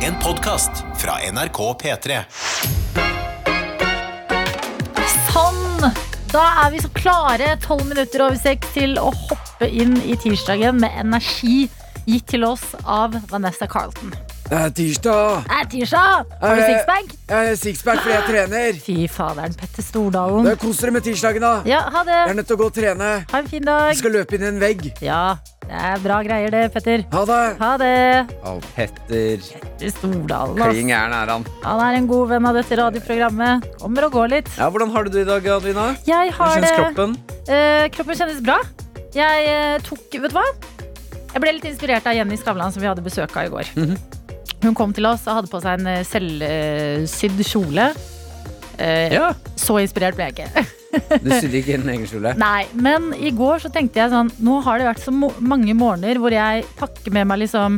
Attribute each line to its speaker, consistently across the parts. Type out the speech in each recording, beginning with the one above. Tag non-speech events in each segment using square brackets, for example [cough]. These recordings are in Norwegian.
Speaker 1: En podkast fra NRK P3.
Speaker 2: Sånn! Da er vi så klare, tolv minutter over seks, til å hoppe inn i tirsdagen med energi gitt til oss av Vanessa Carlton.
Speaker 3: Det er tirsdag.
Speaker 2: Hei, tirsdag! Har du
Speaker 3: Eh,
Speaker 2: sixpack?
Speaker 3: Jeg er sixpack fordi jeg trener.
Speaker 2: Fy faderen, Petter
Speaker 3: Det
Speaker 2: Stordalen.
Speaker 3: er Kos dere med tirsdagen, da.
Speaker 2: Ja, ha det!
Speaker 3: Jeg er nødt til å gå og trene.
Speaker 2: Ha en fin
Speaker 3: Jeg
Speaker 2: dag.
Speaker 3: skal løpe inn i en vegg.
Speaker 2: Ja, det er bra greier det, Petter.
Speaker 3: Ha det.
Speaker 2: Ha det.
Speaker 4: Av Petter.
Speaker 2: Petter Stordalen, ass.
Speaker 4: Kling gæren er han.
Speaker 2: Han er en god venn av dette radioprogrammet. Kommer og går litt.
Speaker 4: Ja, Hvordan har du det i dag, Adelina?
Speaker 2: Jeg har
Speaker 4: Hvordan
Speaker 2: det
Speaker 4: kjennes kroppen?
Speaker 2: Eh, kroppen kjennes bra. Jeg eh, tok Vet du hva? Jeg ble litt inspirert av Jenny Skavlan, som vi hadde besøk av i går.
Speaker 4: Mhm.
Speaker 2: Hun kom til oss og hadde på seg en eh, selvsydd kjole. Eh,
Speaker 4: Ja.
Speaker 2: Så inspirert ble jeg ikke. [laughs]
Speaker 4: Du sydde ikke inn egen kjole?
Speaker 2: Nei, men i går så tenkte jeg sånn Nå har det vært så mo mange morgener hvor jeg pakker med meg liksom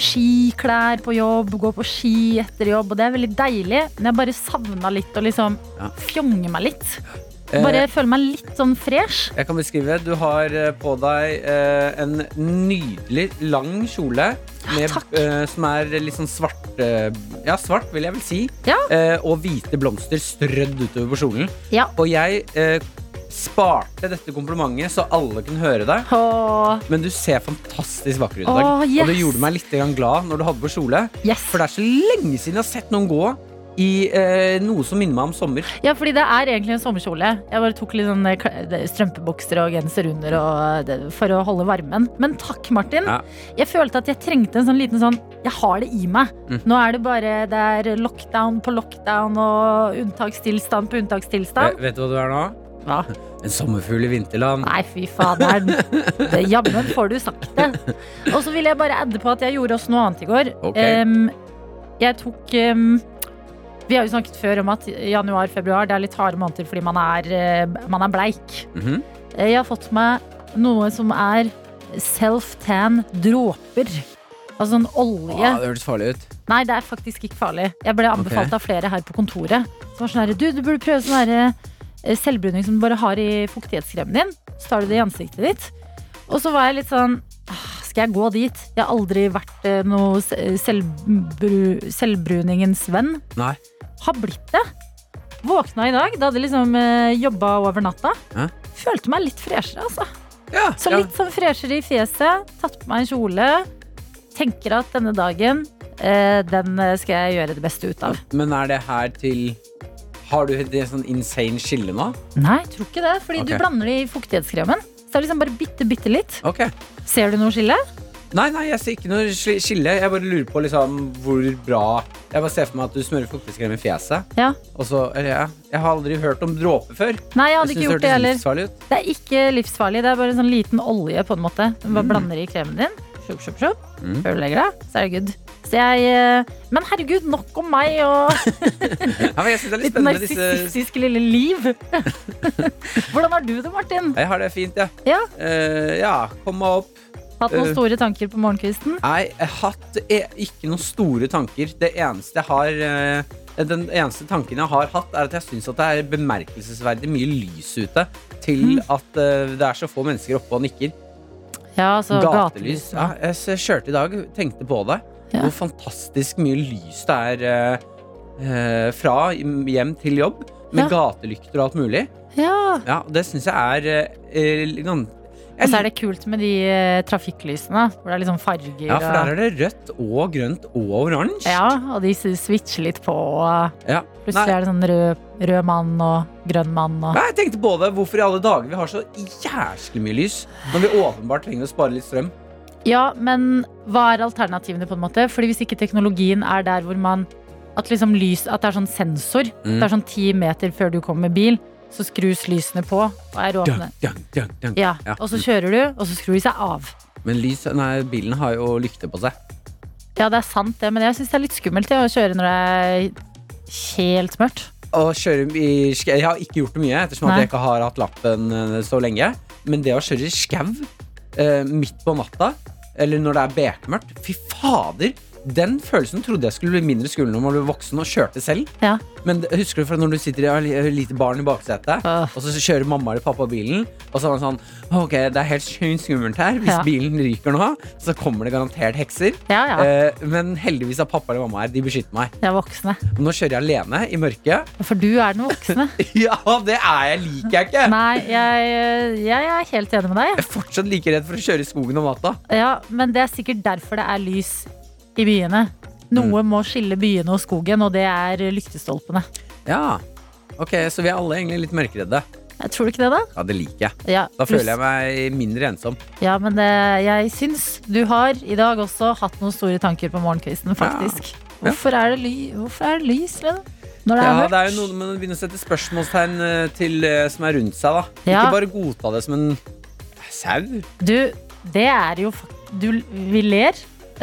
Speaker 2: skiklær på jobb, går på ski etter jobb, og det er veldig deilig. Men jeg bare savna litt å liksom
Speaker 4: Ja.
Speaker 2: fjonge meg litt.
Speaker 4: Eh,
Speaker 2: Bare føle meg litt sånn fresh.
Speaker 4: Jeg kan beskrive. Du har eh, på deg eh, en nydelig lang kjole. Med,
Speaker 2: Ah, takk.
Speaker 4: eh, som er litt sånn svart eh, Ja, svart, vil jeg vel si.
Speaker 2: Ja.
Speaker 4: Eh, og hvite blomster strødd utover på kjolen.
Speaker 2: Ja.
Speaker 4: Og jeg eh, sparte dette komplimentet så alle kunne høre deg.
Speaker 2: Åh,
Speaker 4: Men du ser fantastisk vakker ut i dag.
Speaker 2: Åh, yes.
Speaker 4: Og det gjorde meg litt grann glad når du hadde på kjole.
Speaker 2: yes.
Speaker 4: For det er så lenge siden jeg har sett noen gå i eh, noe som minner meg om sommer.
Speaker 2: Ja, fordi det er egentlig en sommerkjole. Jeg bare tok litt sånn eh, kle- det- strømpebokser og genser under og eh, det, for å holde varmen. Men takk, Martin.
Speaker 4: Ja.
Speaker 2: Jeg følte at jeg trengte en sånn liten sånn Jeg har det i meg.
Speaker 4: Mm.
Speaker 2: Nå er det bare det er lockdown på lockdown og unntakstilstand på unntakstilstand.
Speaker 4: Eh, vet du hva du er nå?
Speaker 2: Hva?
Speaker 4: En sommerfugl i vinterland.
Speaker 2: Nei, fy faderen. Det- Jammen får du sagt det. Og så vil jeg bare adde på at jeg gjorde også noe annet i går.
Speaker 4: Ok.
Speaker 2: Em, jeg tok em, Vi har jo snakket før om at januar-februar det er litt harde måneder fordi man er, eh, man er bleik.
Speaker 4: Mhm.
Speaker 2: Eh, Jeg har fått meg noe som er self-tan dråper. Altså en olje.
Speaker 4: Åh, Ah, det hørtes farlig ut.
Speaker 2: Nei, det er faktisk ikke farlig. Jeg ble anbefalt
Speaker 4: Ok.
Speaker 2: av flere her på kontoret. Som var sånn her, du, du burde prøve sånn her eh, selvbruning som du bare har i fuktighetskremen din. Så tar du det i ansiktet ditt. Og så var jeg litt sånn «Ah, Skal jeg gå dit? Jeg har aldri vært eh, noe se- selvbru, selvbruningens venn.
Speaker 4: Nei.
Speaker 2: Har blitt det. Våkna i dag. Da hadde jeg liksom eh, jobba over natta.
Speaker 4: Hæ?
Speaker 2: Følte meg litt freshere, altså.
Speaker 4: Ja,
Speaker 2: Så
Speaker 4: ja.
Speaker 2: litt sånn freshere i fjeset. Tatt på meg en kjole. Tenker at denne dagen, eh, den eh, skal jeg gjøre det beste ut av.
Speaker 4: Men er det her til Har du et sånn insane skille nå?
Speaker 2: Nei, tror ikke det. Fordi
Speaker 4: Ok.
Speaker 2: du blander det i fuktighetskremen. Så det er liksom bare bitte, bitte litt.
Speaker 4: Ok.
Speaker 2: Ser du noe skille?
Speaker 4: Nei, nei, jeg ser ikke noe skli- skille. Jeg bare lurer på liksom hvor bra Jeg bare ser for meg at du smører fuktighetskrem i fjeset.
Speaker 2: Ja.
Speaker 4: Og så, eller ja, Jeg har aldri hørt om dråpe før.
Speaker 2: Nei, jeg hadde
Speaker 4: synes
Speaker 2: ikke gjort det
Speaker 4: hørtes
Speaker 2: heller.
Speaker 4: livsfarlig ut.
Speaker 2: Det er ikke livsfarlig. Det er bare en sånn liten olje, på en måte. Du bare blander det i kremen din. Sjup, sjup, sjup.
Speaker 4: Mm.
Speaker 2: Før du legger deg, så er det good. Så jeg, eh, men herregud, nok om meg
Speaker 4: [laughs]
Speaker 2: og
Speaker 4: Ja, men jeg synes det er litt
Speaker 2: mitt
Speaker 4: spennende disse
Speaker 2: narsissistiske lille liv. [laughs] Hvordan har du det, Martin?
Speaker 4: Jeg har det fint, jeg.
Speaker 2: Ja.
Speaker 4: Eh, ja, kom meg opp.
Speaker 2: Hatt noen
Speaker 4: Eh.
Speaker 2: store tanker på morgenkvisten?
Speaker 4: Nei, jeg har hatt e ikke noen store tanker. Det eneste jeg har eh, Den eneste tanken jeg har hatt, er at jeg syns det er bemerkelsesverdig mye lys ute
Speaker 2: Mhm.
Speaker 4: til at eh, det er så få mennesker oppe og nikker.
Speaker 2: Ja, altså
Speaker 4: Gatelys.
Speaker 2: gatelys.
Speaker 4: Ja, jeg s- kjørte i dag, tenkte på det.
Speaker 2: Ja.
Speaker 4: Hvor fantastisk mye lys det er eh, eh, fra hjem til jobb. Med
Speaker 2: Ja.
Speaker 4: gatelykter og alt mulig.
Speaker 2: Ja.
Speaker 4: Ja, Det syns jeg er eh, eh, gan-
Speaker 2: Og så er det kult med de eh, trafikklysene, hvor det er liksom farger
Speaker 4: Ja, for der
Speaker 2: og
Speaker 4: er det rødt og grønt og oransje.
Speaker 2: ja, og de s- switcher litt på. Og
Speaker 4: Ja. Nei,
Speaker 2: plutselig er det sånn rød, rød mann og grønn mann. Og,
Speaker 4: Nei, jeg tenkte på det. Hvorfor i alle dager vi har så jæsklig mye lys når vi åpenbart trenger å spare litt strøm?
Speaker 2: ja, men hva er alternativene, på en måte? Fordi hvis ikke teknologien er der hvor man At liksom lys At det er sånn sensor.
Speaker 4: Mm.
Speaker 2: Det er sånn ti meter før du kommer med bil, så skrus lysene på og er åpne.
Speaker 4: Dang, dang, dang, dang.
Speaker 2: Ja,
Speaker 4: Ja.
Speaker 2: Og så kjører du, og så skrur de seg av.
Speaker 4: Men lys, nei, bilen har jo lykter på seg.
Speaker 2: Ja, det er sant, det, men jeg syns det er litt skummelt det, å kjøre når det er helt mørkt.
Speaker 4: Å kjøre i skau Jeg har ikke gjort det mye, ettersom at
Speaker 2: Nei.
Speaker 4: jeg ikke har hatt lappen eh, så lenge. Men det å kjøre i skau eh, midt på natta, eller når det er bekmørkt Fy fader! Den følelsen trodde jeg skulle bli mindre skummel når man ble voksen og kjørte selv.
Speaker 2: Ja.
Speaker 4: Men det- husker du fra når du sitter i har et lite barn i baksetet,
Speaker 2: Åh.
Speaker 4: og så kjører mamma eller pappa bilen, og så er man sånn Ok, det er helt sjukt skummelt her. Hvis
Speaker 2: Ja.
Speaker 4: bilen ryker nå, så kommer det garantert hekser.
Speaker 2: Ja, ja.
Speaker 4: Eh, men heldigvis er pappa eller mamma her. De beskytter meg.
Speaker 2: Jeg er voksne.
Speaker 4: Nå kjører jeg alene i mørket. [laughs]
Speaker 2: For du er den voksne.
Speaker 4: Ja, det er jeg. Liker jeg ikke.
Speaker 2: Nei, jeg, jeg er helt enig med deg.
Speaker 4: Jeg er fortsatt like redd for å kjøre i skogen om natta.
Speaker 2: Ja, Men det er sikkert derfor det er lys i byene. Noe
Speaker 4: Mm.
Speaker 2: må skille byene og skogen, og det er lyktestolpene.
Speaker 4: Ja, ok, Så vi er alle egentlig litt mørkeredde.
Speaker 2: Jeg tror du ikke det, da?
Speaker 4: Ja, det liker jeg.
Speaker 2: Ja,
Speaker 4: Da
Speaker 2: pluss-
Speaker 4: føler jeg meg mindre ensom.
Speaker 2: Ja, men det, jeg syns du har i dag også hatt noen store tanker på morgenkvisten, faktisk.
Speaker 4: Ja.
Speaker 2: Hvorfor, er det ly, hvorfor er det lys, liksom? Når det er
Speaker 4: Ja,
Speaker 2: mørkt?
Speaker 4: det er jo noe med å begynne å sette spørsmålstegn eh, til eh, som er rundt seg, da.
Speaker 2: Ja.
Speaker 4: Ikke bare godta det som en sau.
Speaker 2: Du, det er jo fak- du, Vi ler, [laughs]
Speaker 4: Mm.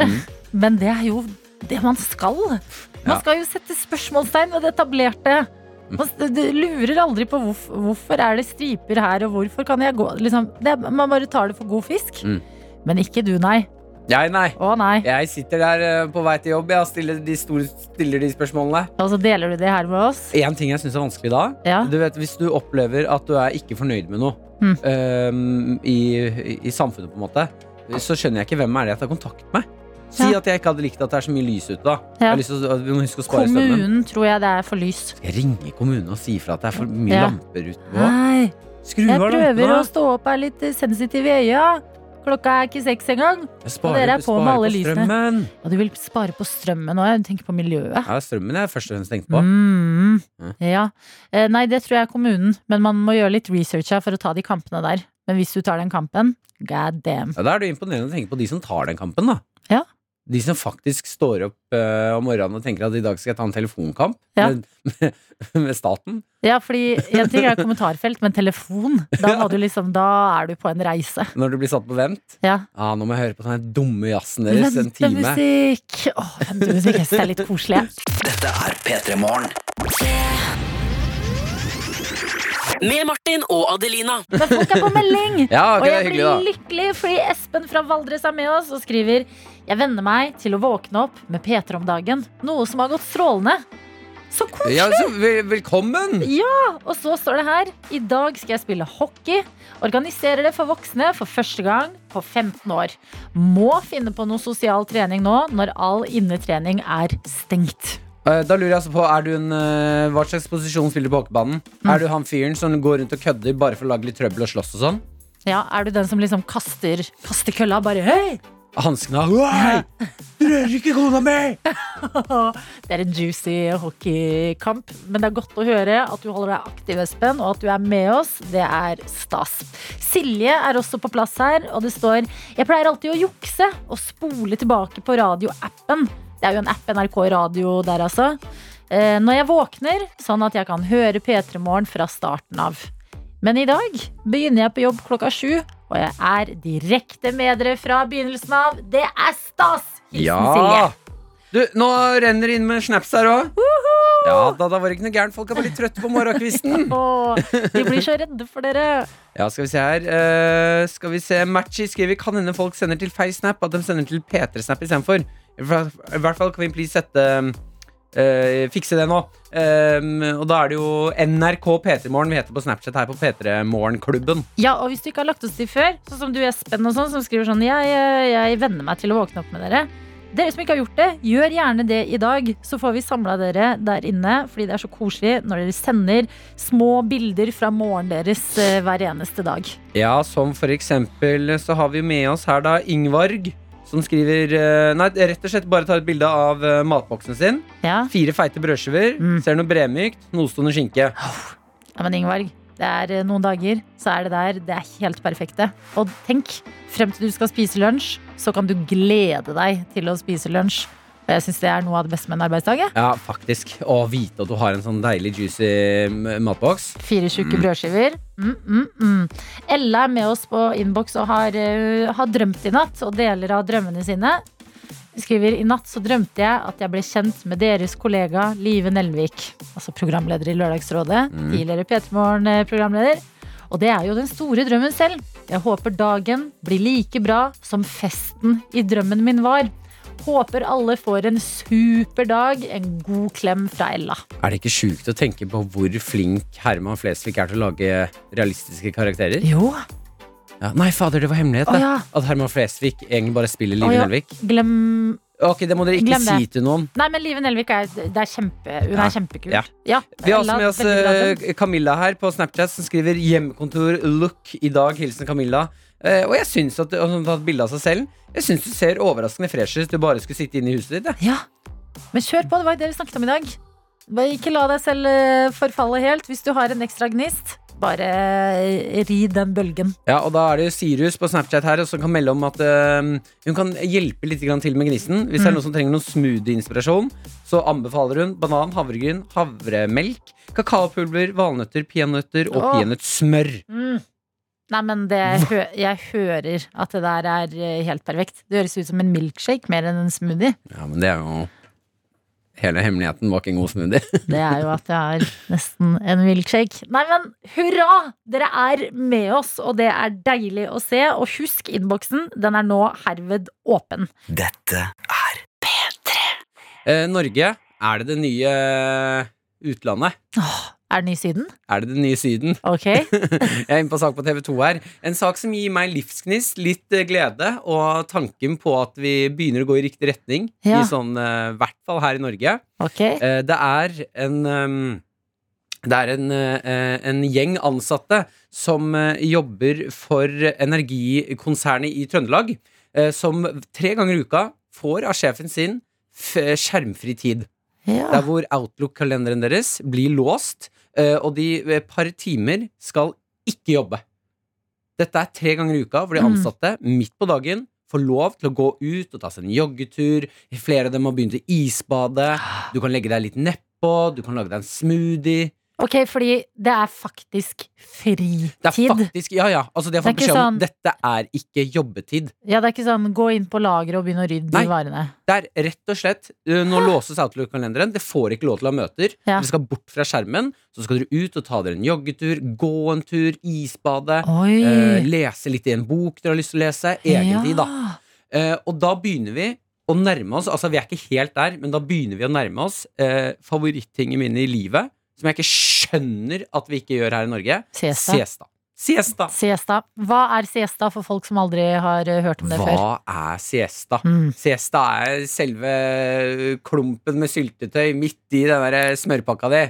Speaker 2: men det er jo det man skal. Man
Speaker 4: Ja.
Speaker 2: skal jo sette spørsmålstegn ved det etablerte. Man s- du lurer aldri på hvorf- hvorfor er det striper her, og hvorfor kan jeg gå liksom, det, er- Man bare tar det for god fisk.
Speaker 4: Mm.
Speaker 2: Men ikke du, nei.
Speaker 4: Jeg, nei.
Speaker 2: Å nei.
Speaker 4: Jeg sitter der eh, på vei til jobb jeg, og stiller de, store, stiller de spørsmålene.
Speaker 2: Og så Altså, deler du det her med oss.
Speaker 4: Én ting jeg syns er vanskelig da,
Speaker 2: Ja.
Speaker 4: du vet, hvis du opplever at du er ikke fornøyd med noe
Speaker 2: Mm.
Speaker 4: øhm, i, i samfunnet, på en måte, så skjønner jeg ikke hvem er det jeg tar kontakt med. Si
Speaker 2: Ja.
Speaker 4: at jeg ikke hadde likt at det er så mye lys ute. da Jeg
Speaker 2: Ja.
Speaker 4: har lyst til å, Vi må huske å spare strømmen.
Speaker 2: Kommunen tror jeg det er for lyst.
Speaker 4: Skal jeg ringe kommunen og si ifra at det er for mye
Speaker 2: Ja.
Speaker 4: lamper ute? på?
Speaker 2: Nei,
Speaker 4: Skru
Speaker 2: jeg
Speaker 4: av
Speaker 2: prøver å
Speaker 4: lampene!
Speaker 2: stå opp, er litt eh, sensitiv i øya. Klokka er ikke seks engang.
Speaker 4: Jeg sparer,
Speaker 2: dere er på med
Speaker 4: sparer
Speaker 2: alle lysene.
Speaker 4: strømmen.
Speaker 2: Og du vil spare på strømmen òg, du tenker på miljøet.
Speaker 4: Ja, strømmen er først og fremst tenkt på.
Speaker 2: Mm,
Speaker 4: Mm.
Speaker 2: ja. Eh, Nei, det tror jeg er kommunen, men man må gjøre litt research her for å ta de kampene der. Men hvis du tar den kampen, god damn.
Speaker 4: Ja, da er det jo imponerende å tenke på de som tar den kampen, da.
Speaker 2: Ja.
Speaker 4: De som faktisk står opp eh, om morgenen og tenker at i dag skal jeg ta en telefonkamp
Speaker 2: Ja.
Speaker 4: med, med, [laughs] med staten.
Speaker 2: Ja, fordi en ting er kommentarfelt, men telefon, da må du liksom Da er du på en reise.
Speaker 4: Når du blir satt på vent.
Speaker 2: Ja.
Speaker 4: Ah, nå må jeg høre på den her dumme jazzen deres en time.
Speaker 2: Ventemusikk. Åh, ventemusikk. Jeg synes det er litt koselig. jeg.
Speaker 5: Med Martin og Adelina.
Speaker 2: Men folk er på melding!
Speaker 4: Ja, ok,
Speaker 2: og
Speaker 4: det
Speaker 2: jeg
Speaker 4: er
Speaker 2: blir
Speaker 4: hyggelig, da.
Speaker 2: lykkelig fordi Espen fra Valdres er med oss og skriver Jeg venner meg til å våkne opp med Peter om dagen. Noe som har gått strålende. Så koselig!
Speaker 4: Ja, så vel, velkommen!
Speaker 2: Og så står det her I dag skal jeg spille hockey. Organiserer det for voksne for første gang på 15 år. Må finne på noe sosial trening nå når all innetrening er stengt.
Speaker 4: Eh, Da lurer jeg altså på, er du en, eh, Hva slags posisjon spiller du på hockeybanen?
Speaker 2: Mm.
Speaker 4: Er du han fyren som går rundt og kødder bare for å lage litt trøbbel og slåss og sånn?
Speaker 2: Ja, Er du den som liksom kaster, kaster kølla bare Hei!
Speaker 4: Hanskene Hei! Du rører ikke kona mi!
Speaker 2: [laughs] Det er en juicy hockeykamp, men det er godt å høre at du holder deg aktiv, Espen, og at du er med oss. Det er stas. Silje er også på plass her, og det står Jeg pleier alltid å jukse og spole tilbake på radioappen. Det er jo en app, NRK Radio der, altså. Eh, Når jeg våkner, sånn at jeg kan høre P3 Morgen fra starten av. Men i dag begynner jeg på jobb klokka sju, og jeg er direkte med dere fra begynnelsen av. Det er stas! Hilsen Silje.
Speaker 4: Ja! Du, nå renner det inn med snaps her òg. Ja, da, da var det ikke noe gærent. Folk er bare litt trøtte på morgenkvisten.
Speaker 2: Åh, de blir så redde for dere.
Speaker 4: [laughs] Ja, skal vi se her. Eh, skal vi se. Matchy skriver kan hende folk sender til feil snap, at de sender til P3-snap istedenfor. I hvert i hvert fall kan vi please sette eh, fikse det nå. Eh, og da er det jo NRK P3morgen vi heter på Snapchat her på P3morgenklubben.
Speaker 2: Ja, og hvis du ikke har lagt oss til før, sånn som du Espen og sånn, som skriver sånn jeg, eh, jeg venner meg til å våkne opp med dere. Dere som ikke har gjort det, gjør gjerne det i dag. Så får vi samla dere der inne, fordi det er så koselig når dere sender små bilder fra morgenen deres eh, hver eneste dag.
Speaker 4: Ja, som for eksempel så har vi med oss her da Ingvarg, som skriver eh, Nei, rett og slett bare tar et bilde av eh, matboksen sin.
Speaker 2: Ja,
Speaker 4: Fire feite brødskiver,
Speaker 2: Mm.
Speaker 4: ser noe bremykt, nostående skinke.
Speaker 2: ja men Ingvarg. Det er eh, noen dager, så er det der. Det er helt perfekte. Og tenk, frem til du skal spise lunsj, så kan du glede deg til å spise lunsj. Og jeg syns det er noe av det beste med en arbeidsdag. jeg.
Speaker 4: Ja, faktisk. Å vite at du har en sånn deilig juicy eh, matboks.
Speaker 2: Fire tjukke brødskiver. Mm, mm, mm. Ella er med oss på innboks og har, eh, har drømt i natt og deler av drømmene sine. Hun Skriver i natt så drømte jeg at jeg ble kjent med deres kollega Live Nelvik. Altså programleder i Lørdagsrådet.
Speaker 4: Mm.
Speaker 2: Tidligere P3 Morgen-programleder. Og det er jo den store drømmen selv. Jeg håper dagen blir like bra som festen i drømmen min var. Håper alle får en super dag. En god klem fra Ella.
Speaker 4: Er det ikke sjukt å tenke på hvor flink Herman Flesvig er til å lage realistiske karakterer?
Speaker 2: Jo.
Speaker 4: Ja. Nei, fader, det var hemmelighet,
Speaker 2: Å,
Speaker 4: det.
Speaker 2: ja.
Speaker 4: At Herman Flesvig egentlig bare spiller
Speaker 2: Å,
Speaker 4: Live
Speaker 2: ja.
Speaker 4: Nelvik.
Speaker 2: Glem
Speaker 4: Ok, det må dere ikke
Speaker 2: Glem det.
Speaker 4: si til noen.
Speaker 2: Nei, men Live Nelvik er, det er kjempe, hun
Speaker 4: Ja.
Speaker 2: er kjempekul.
Speaker 4: Ja.
Speaker 2: Ja,
Speaker 4: Vi har også
Speaker 2: Ella,
Speaker 4: med oss
Speaker 2: veldig bra jobb.
Speaker 4: eh, Camilla her på Snapchat, som skriver 'Hjemmekontor look i dag'. Hilsen Camilla. Eh, og jeg syns at og hun har tatt bilde av seg selv. Jeg syns du ser overraskende fresh ut. Du bare skulle sitte inne i huset ditt. jeg.
Speaker 2: Ja, men kjør på, det var jo det vi snakket om i dag. Bare Ikke la deg selv eh, forfalle helt. Hvis du har en ekstra gnist, bare eh, ri den bølgen.
Speaker 4: Ja, og da er det jo Sirius på Snapchat her som kan melde om at eh, hun kan hjelpe litt grann til med gnisten. Hvis det er
Speaker 2: Mm.
Speaker 4: noen som trenger noen smoothie-inspirasjon, så anbefaler hun banan, havregryn, havremelk, kakaopulver, valnøtter, peanøtter og
Speaker 2: Åh. Mm.
Speaker 4: peanøttsmør.
Speaker 2: Nei, men det, hø jeg hører at det der er eh, helt perfekt. Det høres ut som en milkshake mer enn en smoothie.
Speaker 4: Ja, men det er jo Hele hemmeligheten bak en god smoothie.
Speaker 2: Det er jo at det er nesten en milkshake. Nei, men hurra! Dere er med oss, og det er deilig å se. Og husk innboksen, den er nå herved åpen.
Speaker 4: Eh, Norge, er det det nye utlandet?
Speaker 2: Er den i Syden?
Speaker 4: Er det det nye Syden?
Speaker 2: Ok.
Speaker 4: Jeg er inne på en sak på TV 2 her. En sak som gir meg livsgnist, litt eh, glede og tanken på at vi begynner å gå i riktig retning,
Speaker 2: Ja.
Speaker 4: i sånn, eh, hvert fall her i Norge.
Speaker 2: Ok.
Speaker 4: Eh, det er en ehm, det er en, eh, en gjeng ansatte som eh, jobber for energikonsernet i Trøndelag, eh, som tre ganger i uka får av sjefen sin f skjermfri tid.
Speaker 2: [laughs] Ja.
Speaker 4: Der hvor Outlook-kalenderen deres blir låst, eh, og de ved et par timer skal ikke jobbe. Dette er tre ganger i uka hvor de
Speaker 2: Mm.
Speaker 4: ansatte midt på dagen får lov til å gå ut og ta seg en joggetur. Flere av dem har begynt å isbade. Du kan legge deg litt nedpå, du kan lage deg en smoothie.
Speaker 2: Ok, fordi det er faktisk
Speaker 4: Det er
Speaker 2: fritid.
Speaker 4: faktisk, ja, ja, altså De har fått
Speaker 2: Det er ikke
Speaker 4: beskjed om
Speaker 2: sånn-
Speaker 4: dette er ikke jobbetid.
Speaker 2: Ja, det er ikke sånn gå inn på lageret og begynne å rydde
Speaker 4: Nei.
Speaker 2: i varene.
Speaker 4: Det er rett og slett eh, Nå låses Outlook-kalenderen. Det får ikke lov til å ha møter.
Speaker 2: Ja.
Speaker 4: Dere skal bort fra skjermen, så skal dere ut og ta dere en joggetur, gå en tur, isbade,
Speaker 2: Oi.
Speaker 4: eh, lese litt i en bok dere har lyst til å lese. Egentlig, da. Eh, og da begynner vi å nærme oss Altså, vi er ikke helt der, men da begynner vi å nærme oss eh, favorittingene mine i livet, som jeg ikke skjønner at vi ikke gjør her i Norge.
Speaker 2: Siesta.
Speaker 4: Siesta. Siesta.
Speaker 2: Siesta. Hva er siesta for folk som aldri har eh, hørt om det før?
Speaker 4: Hva er siesta?
Speaker 2: Mm.
Speaker 4: Siesta er selve klumpen med syltetøy midt i den der smørpakka
Speaker 2: [laughs]
Speaker 4: di.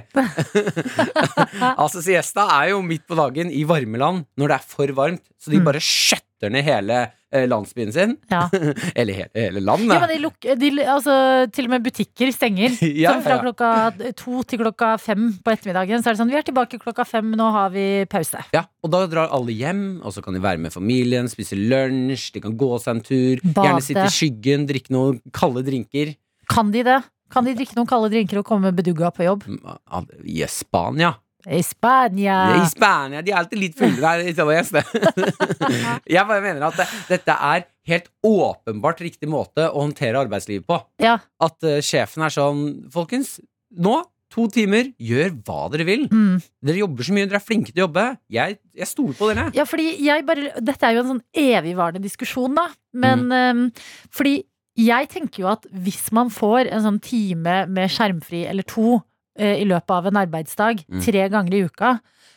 Speaker 4: altså, siesta er jo midt på dagen i varmeland når det er for varmt, så de
Speaker 2: Mm.
Speaker 4: bare skjøtter ned hele eh, landsbyen sin. [laughs]
Speaker 2: Ja.
Speaker 4: Eller hele, hele
Speaker 2: Ja, men
Speaker 4: landet.
Speaker 2: de luk de, altså, til og med butikker stenger.
Speaker 4: [laughs] Ja,
Speaker 2: sånn fra
Speaker 4: ja.
Speaker 2: klokka to til klokka fem på ettermiddagen. Så er det sånn, vi er tilbake klokka fem, nå har vi pause.
Speaker 4: Ja, og da drar alle hjem, og så kan de være med familien, spise lunsj, de kan gå seg en tur,
Speaker 2: Bade.
Speaker 4: gjerne sitte i skyggen, drikke noen kalde drinker.
Speaker 2: Kan de det? Kan de drikke noen kalde drinker og komme bedugga på jobb?
Speaker 4: Mm, ah, I Spania.
Speaker 2: I Spania!
Speaker 4: I Spania, de er alltid litt fulle. Nei, det var jeg [laughs] sted. Jeg bare mener at det, dette er helt åpenbart riktig måte å håndtere arbeidslivet på.
Speaker 2: Ja.
Speaker 4: At eh, sjefen er sånn, folkens, nå, to timer, gjør hva dere vil.
Speaker 2: Mm.
Speaker 4: Dere jobber så mye, dere er flinke til å jobbe. Jeg, jeg stoler på dere.
Speaker 2: [laughs] Ja, fordi jeg bare Dette er jo en sånn evigvarende diskusjon, da. Men
Speaker 4: Mm.
Speaker 2: ehm, fordi jeg tenker jo at hvis man får en sånn time med skjermfri eller to eh, i løpet av en arbeidsdag,
Speaker 4: Mm.
Speaker 2: tre ganger i uka,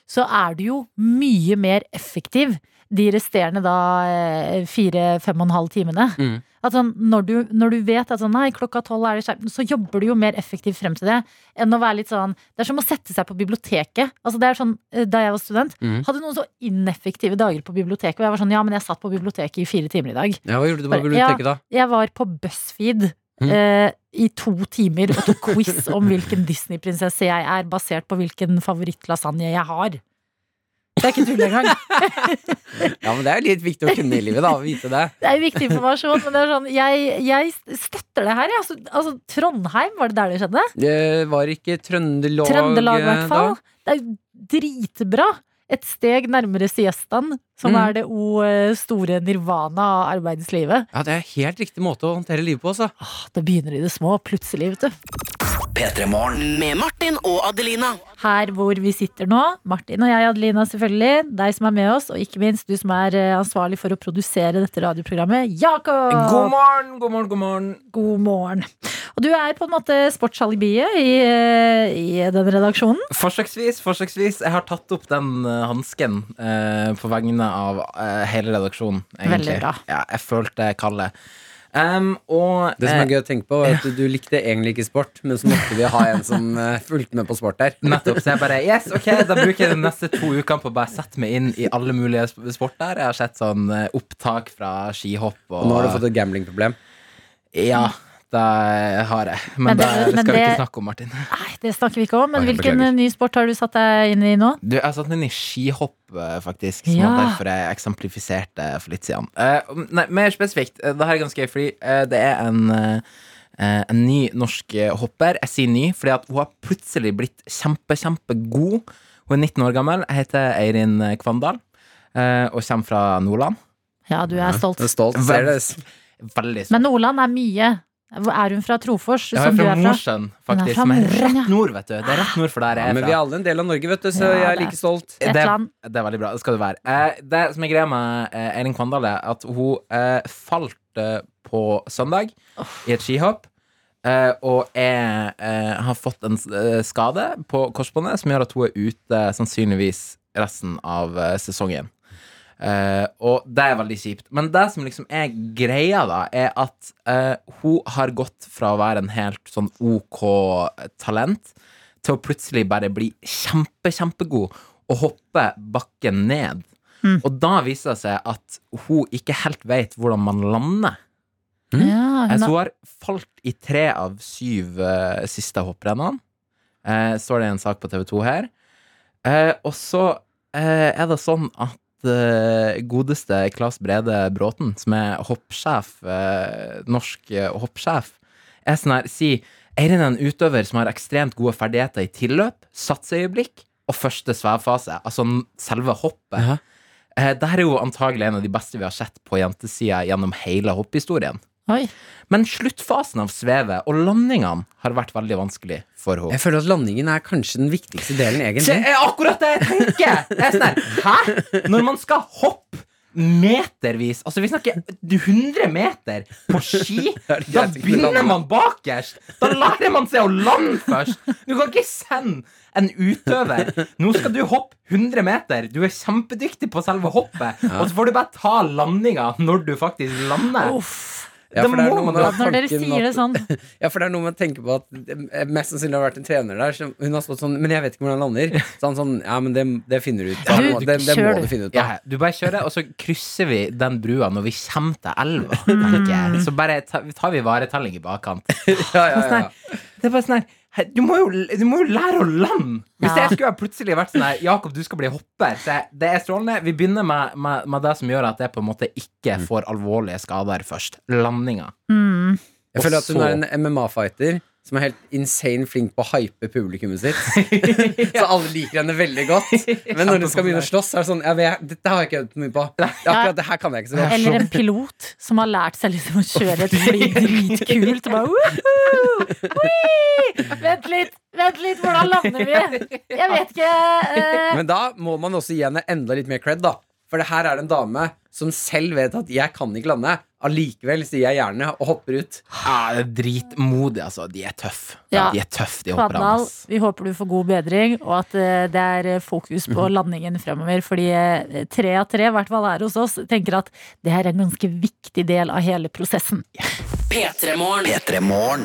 Speaker 2: så er du jo mye mer effektiv de resterende da eh, fire, fem og en halv timene.
Speaker 4: Mm.
Speaker 2: At sånn, når, du, når du vet at sånn, nei, klokka tolv er det skjerm, så jobber du jo mer effektivt frem til det. Enn å være litt sånn Det er som å sette seg på biblioteket. Altså, det er sånn, eh, da jeg var student,
Speaker 4: Mm.
Speaker 2: hadde noen så ineffektive dager på biblioteket. Og jeg var sånn, ja, men jeg satt på biblioteket i fire timer i dag.
Speaker 4: Ja, hva gjorde du
Speaker 2: Bare-
Speaker 4: på biblioteket da?
Speaker 2: Jeg var på BuzzFeed
Speaker 4: Mm.
Speaker 2: eh, i to timer og tok quiz om hvilken Disney-prinsesse jeg er, basert på hvilken favorittlasagne jeg har. Det er ikke tull engang.
Speaker 4: [laughs] Ja, men det er jo litt viktig å kunne i livet da, å vite det.
Speaker 2: Det er viktig informasjon, men det er sånn, jeg, jeg støtter det her. jeg. Altså, altså, Trondheim, var det der det skjedde?
Speaker 4: Det var ikke Trøndelag,
Speaker 2: Trøndelag, i
Speaker 4: eh,
Speaker 2: hvert fall.
Speaker 4: da?
Speaker 2: Det er jo dritbra. Et steg nærmere siestaen, som
Speaker 4: Mm.
Speaker 2: er det o eh, store nirvana av arbeidslivet.
Speaker 4: Ja, det er helt riktig måte å håndtere livet på, altså.
Speaker 2: Åh, Det begynner i det små, plutselig, vet du.
Speaker 5: Med Martin og Adelina.
Speaker 2: her hvor vi sitter nå. Martin og jeg, Adelina selvfølgelig. Deg som er med oss, og ikke minst du som er eh, ansvarlig for å produsere dette radioprogrammet, Jakob!
Speaker 6: God morgen, god morgen, god morgen.
Speaker 2: God morgen. Og du er på en måte sportsalibiet i, eh, i den redaksjonen.
Speaker 6: Forsøksvis, forsøksvis. Jeg har tatt opp den uh, hansken eh, på vegne av eh, hele redaksjonen. Egentlig.
Speaker 2: Veldig bra.
Speaker 6: Ja, jeg følte kallet. Um, og
Speaker 4: Det som
Speaker 6: eh,
Speaker 4: er gøy å tenke på, er at du, du likte egentlig ikke sport, men så måtte vi ha en som
Speaker 3: eh, fulgte med på sport der.
Speaker 6: Nettopp, så jeg bare Yes, ok, da bruker jeg de neste to ukene på å bare sette meg inn i alle mulige sp- sporter. Jeg har sett sånn eh, opptak fra skihopp og,
Speaker 4: Og nå har du fått et gamblingproblem.
Speaker 6: Ja, det har jeg. Men,
Speaker 2: Men
Speaker 6: det,
Speaker 2: det- men
Speaker 6: skal vi
Speaker 2: det-
Speaker 6: ikke snakke om, Martin.
Speaker 2: Nei, det snakker vi ikke om, men
Speaker 6: Ok,
Speaker 2: hvilken
Speaker 6: beklager.
Speaker 2: ny sport har du satt deg inn i nå?
Speaker 6: Du, jeg satt meg inn i skihopp, eh, faktisk. Som
Speaker 2: Ja.
Speaker 6: var derfor jeg eksemplifiserte for litt siden. Eh, nei, mer spesifikt. eh, Det her er ganske gøy, fordi eh, det er en eh, eh, en ny norsk eh, hopper. Jeg sier ny, fordi at hun har plutselig blitt kjempe, kjempegod. Hun er 19 år gammel. Jeg heter Eirin eh, Kvandal eh, og kommer fra Nordland.
Speaker 2: Ja, du er stolt.
Speaker 4: Jeg er stolt, ser det.
Speaker 6: Veldig
Speaker 2: Men Nordland er mye. Hvor Er hun fra Trofors,
Speaker 6: Jeg er
Speaker 2: som du
Speaker 6: fra
Speaker 2: er fra?
Speaker 6: Mosjøen,
Speaker 2: Hun
Speaker 6: faktisk.
Speaker 2: er fra
Speaker 6: Som er
Speaker 2: Mosjøen, ja.
Speaker 6: rett nord, vet du. Det er rett nord for der
Speaker 4: Ja,
Speaker 6: jeg er
Speaker 4: men
Speaker 6: fra.
Speaker 4: vi er alle en del av Norge, vet du, så
Speaker 2: Ja,
Speaker 4: jeg er
Speaker 2: det er-
Speaker 4: like stolt.
Speaker 2: Et
Speaker 6: det,
Speaker 2: eller annet.
Speaker 6: det er veldig bra. Det skal det være. Eh, det som er greia med eh, Elin Kvandal, er at hun eh, falt eh, på søndag i et skihopp. eh, og er, eh, har fått en eh, skade på korsbåndet som gjør at hun er ute sannsynligvis resten av eh, sesongen. Eh, og det er veldig kjipt. Men det som liksom er greia, da, er at eh, hun har gått fra å være en helt sånn OK talent til å plutselig bare bli kjempe, kjempegod og hoppe bakken ned. Og da viser det seg at hun ikke helt vet hvordan man lander.
Speaker 2: Ja,
Speaker 6: Eh,
Speaker 2: hun
Speaker 6: Så
Speaker 2: er,
Speaker 6: hun har falt i tre av syv eh, siste hopprennene. Eh, står det i en sak på TV2 her. Eh, og så eh, er det sånn at eh, godeste Claes Brede Bråten, som er hoppsjef, eh, norsk eh, hoppsjef, er sånn her Si Eirin er en utøver som har ekstremt gode ferdigheter i tilløp, satsøyeblikk og første svevfase. Altså n- selve hoppet.
Speaker 4: Ja.
Speaker 6: Eh, det her er jo antagelig en av de beste vi har sett på jentesida gjennom hele hopphistorien.
Speaker 2: oi.
Speaker 6: Men sluttfasen av svevet og landingene har vært veldig vanskelig for henne.
Speaker 4: Jeg føler at landingen er kanskje den viktigste delen,
Speaker 6: Det
Speaker 4: egentlig.
Speaker 6: er akkurat det jeg tenker! Det er sånn her, Hæ? Når man skal hoppe metervis Altså, vi snakker 100 meter på ski. Da begynner man bakerst. Da lærer man seg å lande først. Du kan ikke sende en utøver Nå skal du hoppe 100 meter. Du er kjempedyktig på selve hoppet, og så får du bare ta landinga når du faktisk lander.
Speaker 4: Ja, for det er
Speaker 6: Da må
Speaker 4: noe
Speaker 6: man
Speaker 4: med
Speaker 6: ha-
Speaker 2: Når dere
Speaker 4: tanken
Speaker 2: sier det
Speaker 4: at-
Speaker 2: sånn.
Speaker 4: [laughs] Ja, for det er noe med å tenke på at det mest sannsynlig har vært en trener der. Som hun har stått sånn Men jeg vet ikke hvordan han lander. Så han sånn Ja, men det, det finner du
Speaker 2: Ja,
Speaker 4: ut. Det
Speaker 2: du,
Speaker 4: må- det, det
Speaker 2: kjør
Speaker 4: må
Speaker 2: du.
Speaker 4: du finne ut
Speaker 6: Ja,
Speaker 4: av.
Speaker 6: du bare kjører, og så krysser vi den brua når vi kommer til elva. tenker jeg. Så bare ta, tar vi varetelling i bakkant.
Speaker 4: Ja, ja, ja.
Speaker 6: Det er bare sånn her he- du må, jo, du må jo lære å lande! Hvis
Speaker 2: Ja.
Speaker 6: jeg skulle ha plutselig vært sånn her Jakob, du skal bli hopper. Så jeg, det er strålende. Vi begynner med, med, med det som gjør at jeg på en måte ikke får alvorlige skader først. Landinga.
Speaker 2: Mm.
Speaker 4: Jeg føler at hun
Speaker 6: så-
Speaker 4: er en MMA-fighter som er helt insane flink på å hype publikummet sitt. Så alle liker henne veldig godt. Men når hun skal begynne å slåss, er det sånn ja, men jeg, Dette har jeg ikke øvd mye på. Akkurat det her kan jeg ikke så godt.
Speaker 2: Eller en pilot som har lært seg liksom å kjøre et fly dritkult. Og bare, «Woohoo! Hui! Vent litt, vent litt, hvordan lander vi? Jeg vet ikke. eh,
Speaker 4: Men da må man også gi henne enda litt mer cred, da. For det her er det en dame som selv vet at 'jeg kan ikke lande'. Allikevel sier jeg gjerne og hopper ut.
Speaker 6: Ja, Ah, det er dritmodig, altså. De er tøffe.
Speaker 2: Ja.
Speaker 6: De er tøffe, de hopperne.
Speaker 2: Kvadal,
Speaker 6: ass.
Speaker 2: vi håper du får god bedring, og at eh, det er eh, fokus på landingen fremover. Fordi eh, tre av tre, i hvert fall her hos oss, tenker at det her er en ganske viktig del av hele prosessen.
Speaker 5: P3morgen.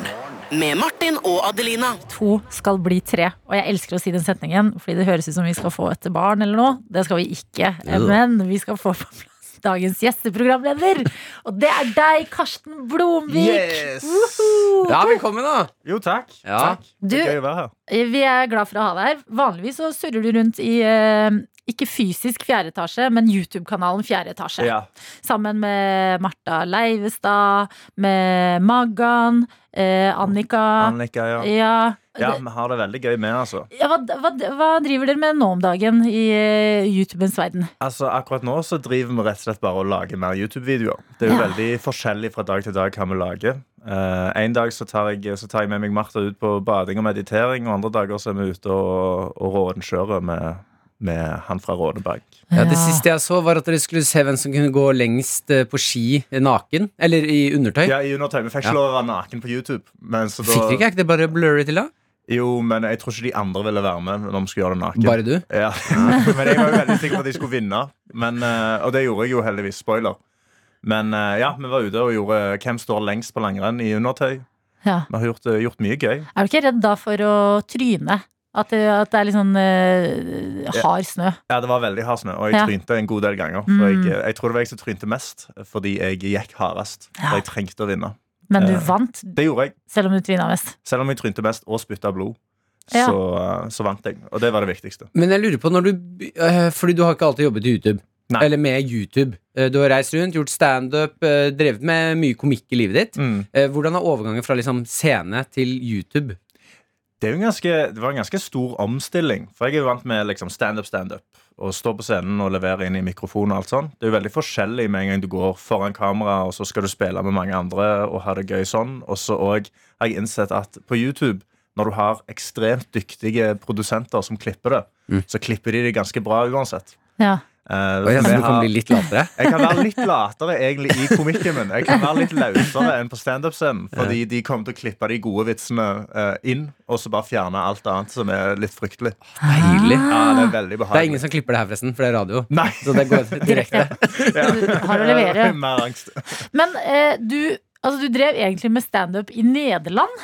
Speaker 5: Med Martin og Adelina.
Speaker 2: To skal bli tre. Og jeg elsker å si den setningen, fordi det høres ut som vi skal få et barn eller noe. Det skal vi ikke. Men vi skal få på plass dagens gjesteprogramleder. Og det er deg, Karsten Blomvik!
Speaker 7: Yes!
Speaker 2: Woho!
Speaker 4: Ja, velkommen, da!
Speaker 7: Jo, takk.
Speaker 4: Ja.
Speaker 7: Takk.
Speaker 2: Du,
Speaker 7: Gøy å være her.
Speaker 2: Eh, Vi er glad for å ha deg her. Vanligvis så surrer du rundt i eh, ikke fysisk fjerde etasje, men YouTube-kanalen Fjerde etasje.
Speaker 7: Ja.
Speaker 2: Sammen med Marta Leivestad, med Maggan, eh, Annika.
Speaker 7: Annika, ja.
Speaker 2: Ja,
Speaker 7: Ja, vi har det veldig gøy med, altså.
Speaker 2: ja hva, hva, hva driver dere med nå om dagen i eh, YouTubens verden?
Speaker 7: Altså, Akkurat nå så driver vi rett og slett bare og lager mer YouTube-videoer. Det er jo
Speaker 2: Ja.
Speaker 7: veldig forskjellig fra dag til dag hva vi lager. Eh, en dag så tar, jeg, så tar jeg med meg Martha ut på bading og meditering, og andre dager så er vi ute og, og rånskjører med, med han fra Råneberg.
Speaker 4: Ja,
Speaker 2: Ja.
Speaker 4: det siste jeg så, var at dere skulle se hvem som kunne gå lengst eh, på ski eh, naken. Eller i undertøy.
Speaker 7: Ja, i undertøy. Vi fikk
Speaker 4: Ja.
Speaker 7: ikke lov å være naken på YouTube. Men så
Speaker 4: Fikk dere
Speaker 7: da,
Speaker 4: ikke? Er ikke det bare blurry til, da?
Speaker 7: jo, men jeg tror ikke de andre ville være med når vi skulle gjøre det naken.
Speaker 4: Bare du?
Speaker 7: Ja. [laughs] Men jeg var jo veldig sikker på at de skulle vinne. Men, eh, og det gjorde jeg jo heldigvis. Spoiler. Men eh, ja, vi var ute og gjorde eh, Hvem står lengst på langrenn i undertøy.
Speaker 2: Ja.
Speaker 7: Vi har gjort, eh, gjort mye gøy.
Speaker 2: Er du ikke redd da for å tryne? At det, at det er litt sånn eh, hard snø?
Speaker 7: Ja, det var veldig hard snø, og jeg
Speaker 2: Ja. Mm.
Speaker 7: trynte en god del ganger. For jeg, eh, jeg tror det var jeg som trynte mest, fordi jeg gikk hardest.
Speaker 2: Ja.
Speaker 7: For jeg trengte å vinne.
Speaker 2: Men du
Speaker 7: Eh.
Speaker 2: vant,
Speaker 7: Det gjorde jeg.
Speaker 2: selv om du tryna mest.
Speaker 7: Selv om jeg trynte mest og spytta blod,
Speaker 2: Ja.
Speaker 7: så, eh, så vant jeg. Og det var det viktigste.
Speaker 4: Men jeg lurer på når du be- eh, Fordi du har ikke alltid jobbet i YouTube.
Speaker 7: Nei.
Speaker 4: Eller med YouTube. Eh, Du har reist rundt, gjort standup, eh, drevet med mye komikk i livet ditt.
Speaker 7: Mm.
Speaker 4: Eh, Hvordan er overgangen fra liksom scene til YouTube?
Speaker 7: Det, er jo en ganske, det var en ganske stor omstilling. For jeg er jo vant med liksom standup, standup. Og stå på scenen og levere inn i mikrofon. og alt sånt. Det er jo veldig forskjellig med en gang du går foran kamera, og så skal du spille med mange andre og ha det gøy sånn. Og så òg har jeg innsett at på YouTube, når du har ekstremt dyktige produsenter som klipper det, så klipper de det ganske bra uansett.
Speaker 2: Ja.
Speaker 7: Eh,
Speaker 4: Mm. Og jeg
Speaker 7: vi
Speaker 4: tror du kan
Speaker 7: har-
Speaker 4: bli litt latere.
Speaker 7: jeg kan være litt latere egentlig i komikken min. Jeg kan være litt løsere enn på standup-scenen. Fordi de kommer til å klippe de gode vitsene eh, inn, og så bare fjerne alt annet som er litt fryktelig.
Speaker 2: Ah. [laughs]
Speaker 4: Deilig.
Speaker 7: Ja, det er veldig
Speaker 4: Det er ingen
Speaker 7: behagelig.
Speaker 4: som klipper det her, forresten, for det er radio.
Speaker 7: Nei.
Speaker 4: Så det går [laughs] direkte.
Speaker 2: Du har å levere.
Speaker 7: [laughs] Mer angst.
Speaker 2: Men eh, du, altså, du drev egentlig med standup i Nederland.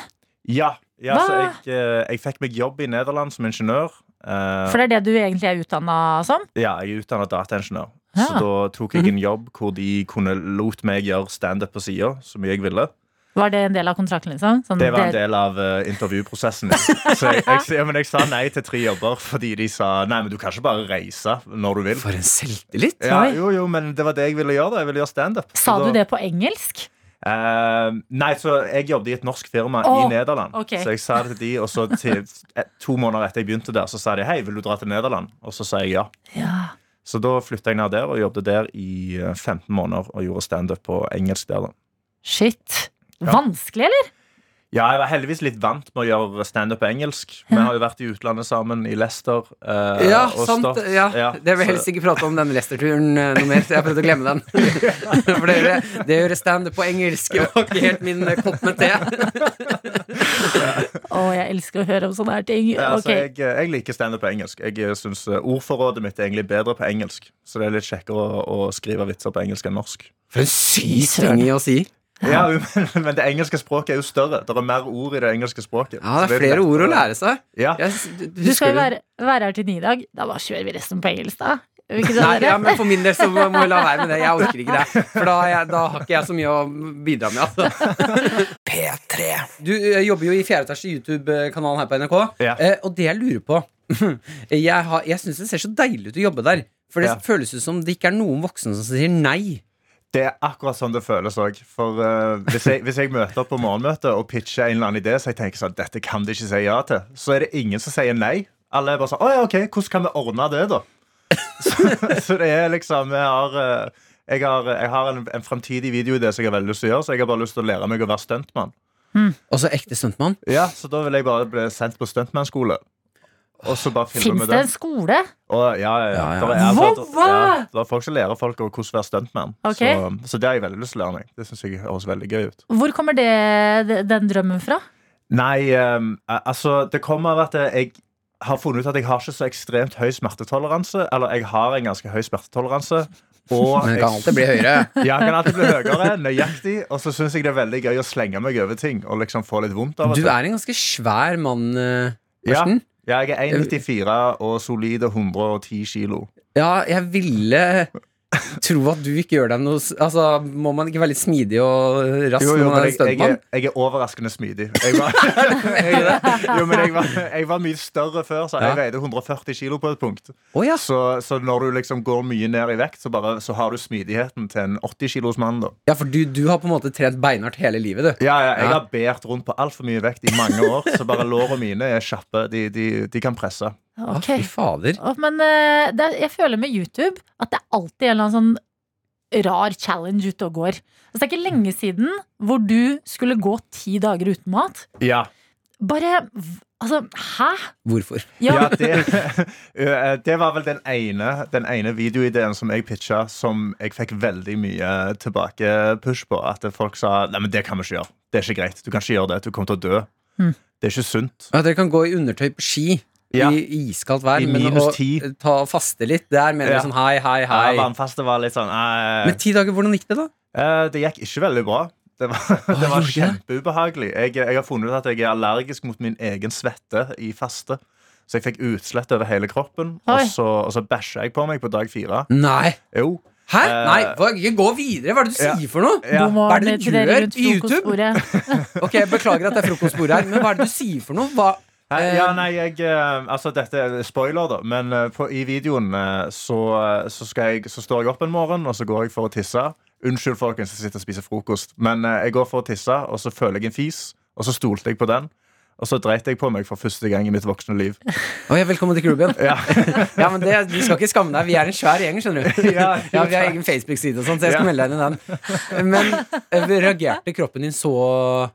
Speaker 7: Ja. ja så jeg,
Speaker 2: Hva?
Speaker 7: eh, jeg fikk meg jobb i Nederland som ingeniør. Eh,
Speaker 2: For det er det du egentlig er utdanna som.
Speaker 7: ja, jeg er utdannet dataingeniør.
Speaker 2: Ja.
Speaker 7: Så da tok jeg en jobb hvor de kunne lot meg gjøre standup på sida så mye jeg ville.
Speaker 2: Var det en del av kontrakten? liksom? Sånn,
Speaker 7: Det var en
Speaker 2: det-
Speaker 7: del av eh, intervjuprosessen. min. Så jeg, jeg, ja, men jeg sa nei til tre jobber fordi de sa nei, men du kan ikke bare reise når du vil.
Speaker 4: For en selvtillit!
Speaker 7: Ja,
Speaker 2: Oi.
Speaker 7: jo, jo, men det var det jeg ville gjøre. da Jeg ville gjøre standup.
Speaker 2: Sa du
Speaker 7: Så da-
Speaker 2: det på engelsk?
Speaker 7: Eh, nei, så jeg jobbet i et norsk firma
Speaker 2: Åh,
Speaker 7: i Nederland.
Speaker 2: ok.
Speaker 7: Så jeg sa det til de, og så til,
Speaker 2: [laughs]
Speaker 7: eh, to måneder etter jeg begynte der, så sa de hei, vil du dra til Nederland? Og så sa jeg ja.
Speaker 2: Ja.
Speaker 7: Så da flytta jeg ned der og jobbet der i eh, 15 måneder og gjorde standup på engelsk der. da
Speaker 2: Shit. Vanskelig, eller?
Speaker 7: Ja, jeg var heldigvis litt vant med å gjøre standup på engelsk. Vi har jo vært i utlandet sammen, i Leicester. eh,
Speaker 4: Ja,
Speaker 7: og
Speaker 4: sant.
Speaker 7: stått-
Speaker 4: Ja.
Speaker 7: ja,
Speaker 4: Det vil jeg helst
Speaker 7: så-
Speaker 4: ikke prate om denne Leicester-turen eh, noe mer. så Jeg prøvde å
Speaker 7: [laughs]
Speaker 4: glemme den. [laughs] For det gjør, det gjør standup på engelsk. Det var ikke helt min eh, kopp med te.
Speaker 2: Å, jeg elsker å høre om sånne her ting.
Speaker 7: Ja,
Speaker 2: Ok.
Speaker 7: altså, jeg, jeg liker standup på engelsk. Jeg synes eh, Ordforrådet mitt er egentlig bedre på engelsk. Så det er litt kjekkere å, å skrive vitser på engelsk enn norsk.
Speaker 4: For en syk ting å si.
Speaker 7: Ja, [laughs] men, men det engelske språket er jo større. Det er mer ord i det engelske språket.
Speaker 4: Ja, det
Speaker 7: Så
Speaker 4: er
Speaker 7: litt
Speaker 4: flere ord å
Speaker 7: lettere.
Speaker 4: lære seg.
Speaker 7: Ja.
Speaker 4: Jeg, s- du-
Speaker 2: Du skal
Speaker 4: husker
Speaker 2: jo
Speaker 4: du?
Speaker 2: være, være her til ni i dag. Da bare kjører vi resten på engelsk, da. Gjør
Speaker 4: [laughs]
Speaker 2: vi Ikke det,
Speaker 4: Nei,
Speaker 2: dere?
Speaker 4: ja,
Speaker 2: [laughs]
Speaker 4: men For min del så må vi la være med det. Jeg orker ikke det. For da, har jeg, da har ikke jeg så mye å bidra med. Altså. Du eh, jobber jo i fjerde etasje i YouTube-kanalen her på NRK.
Speaker 7: Ja.
Speaker 4: Eh, og det jeg lurer på [clears throat] Jeg, har- jeg syns det ser så deilig ut å jobbe der. For det
Speaker 7: Ja.
Speaker 4: føles ut som det ikke er noen voksne som sier nei.
Speaker 7: Det er akkurat sånn det føles òg. For eh, hvis, jeg, hvis jeg møter opp på morgenmøte og pitcher en eller annen idé, så jeg tenker sånn, dette kan de ikke si ja til, så er det ingen som sier nei. Alle er bare sånn Å ja, OK, hvordan kan vi ordne det, da? [laughs] Så, så det er liksom Jeg har, eh, jeg har, jeg har en, en framtidig videoidé som jeg har veldig lyst til å gjøre, så jeg har bare lyst til å lære meg å være stuntmann.
Speaker 4: Også ekte stuntmann.
Speaker 7: Ja, så da vil jeg bare bli sendt på stuntmannskole. Og så bare filme
Speaker 2: Fins
Speaker 7: med
Speaker 2: det
Speaker 7: det.
Speaker 2: en skole?
Speaker 7: Og, ja, ja, ja.
Speaker 4: Ja, ja.
Speaker 7: Det, er, altså,
Speaker 2: Wow!
Speaker 7: ja, det er folk som lærer folk om hvordan være stuntman.
Speaker 2: Ok.
Speaker 7: Så, så det har jeg veldig lyst til å lære meg. Det synes jeg høres veldig gøy ut.
Speaker 2: Hvor kommer det, de- den drømmen fra?
Speaker 7: Nei, ehm, al- altså Det kommer av at jeg har funnet ut at jeg har ikke så ekstremt høy smertetoleranse. Eller jeg har en ganske høy smertetoleranse. [laughs] Og
Speaker 4: Men det kan
Speaker 7: jeg,
Speaker 4: alltid bli høyere.
Speaker 7: ja, jeg kan alltid bli [laughs] høyere, nøyaktig. Og så syns jeg det er veldig gøy å slenge meg over ting og liksom få litt vondt av
Speaker 4: Du
Speaker 7: og til.
Speaker 4: er en ganske svær mann, eh,
Speaker 7: Ja.
Speaker 4: Karsten.
Speaker 7: Ja, jeg er 1,94 og solide 110 kilo.
Speaker 4: Ja, jeg ville tro at du ikke gjør deg noe s- Altså, Må man ikke være litt smidig og rask
Speaker 7: Jo, jo,
Speaker 4: når man
Speaker 7: men
Speaker 4: er
Speaker 7: jeg, jeg, er,
Speaker 4: stuntmann?
Speaker 7: jeg er overraskende smidig. Jeg var, [laughs] jeg, jo, men jeg var, jeg var mye større før, så jeg
Speaker 4: Ja.
Speaker 7: veide 140 kilo på et punkt.
Speaker 4: Å ja.
Speaker 7: Så, så når du liksom går mye ned i vekt, så, bare, så har du smidigheten til en 80 kilos mann. da
Speaker 4: ja, for du, du har på en måte trent beinhardt hele livet, du.
Speaker 7: Ja, ja, jeg
Speaker 4: Ja.
Speaker 7: har bært rundt på altfor mye vekt i mange år, så bare lårene mine er kjappe. De, de, de kan presse.
Speaker 4: Å,
Speaker 2: Ok.
Speaker 4: Fy fader.
Speaker 2: Å, Men eh, det er, jeg føler med YouTube at det er alltid en eller annen sånn rar challenge ute og går. Altså, det er
Speaker 4: Mm.
Speaker 2: ikke lenge siden hvor du skulle gå ti dager uten mat.
Speaker 7: Ja,
Speaker 2: Bare v- Altså, hæ?
Speaker 4: Hvorfor?
Speaker 2: Ja,
Speaker 7: det, [laughs] Eh, det var vel den ene, den ene videoideen som jeg pitcha, som jeg fikk veldig mye tilbakepush på. At folk sa Nei, men det kan vi ikke gjøre. Det er ikke greit. Du kan ikke gjøre det. Du kommer til å dø.
Speaker 2: Mm.
Speaker 7: Det er ikke sunt.
Speaker 4: Ja, dere kan gå i undertøy på ski.
Speaker 7: Ja.
Speaker 4: I i iskaldt vær.
Speaker 7: I
Speaker 4: men
Speaker 7: minus
Speaker 4: å
Speaker 7: 10.
Speaker 4: ta faste litt, der mener
Speaker 7: Ja.
Speaker 4: vi sånn hei, hei, hei.
Speaker 7: Ja, Vannfaste var litt sånn eh,
Speaker 4: Men ti dager, hvordan gikk det, da?
Speaker 7: eh, Det gikk ikke veldig bra. Det var, [laughs] det var
Speaker 4: gjorde
Speaker 7: kjempeubehagelig. Jeg, jeg har funnet ut at jeg er allergisk mot min egen svette i faste. Så jeg fikk utslett over hele kroppen, og
Speaker 2: Oi.
Speaker 7: så, og så bæsja jeg på meg på dag fire.
Speaker 4: Nei!
Speaker 7: Jo.
Speaker 4: Hæ?
Speaker 7: Eh,
Speaker 4: Nei, hva, ikke gå videre! Hva er det du
Speaker 7: ja.
Speaker 4: sier for noe?
Speaker 7: Ja.
Speaker 2: God
Speaker 4: Hva er
Speaker 2: morgen
Speaker 4: det
Speaker 2: til
Speaker 4: du
Speaker 2: dere
Speaker 4: gjør
Speaker 2: rundt
Speaker 4: i YouTube?
Speaker 2: frokostbordet.
Speaker 4: Ok, jeg Beklager at det er frokostbord her, men hva er det du sier for noe? Hva?
Speaker 7: Nei,
Speaker 4: Eh,
Speaker 7: ja, nei, jeg eh, Altså, dette er spoiler, da. Men eh, på, i videoen eh, så, så, skal jeg, så står jeg opp en morgen, og så går jeg for å tisse. Unnskyld, folkens, jeg sitter og spiser frokost. Men eh, jeg går for å tisse, og så føler jeg en fis, og så stolte jeg på den. Og så dreit jeg på meg for første gang i mitt voksne liv.
Speaker 4: Å, ja, velkommen til klubben.
Speaker 7: Ja.
Speaker 4: [laughs] Ja, men det, Du skal ikke skamme deg. Vi er en svær gjeng, skjønner du.
Speaker 7: [laughs] Ja, jo,
Speaker 4: vi har egen Facebook-side og sånn, så jeg skal
Speaker 7: Ja.
Speaker 4: melde deg inn i den. Men eh, reagerte kroppen din så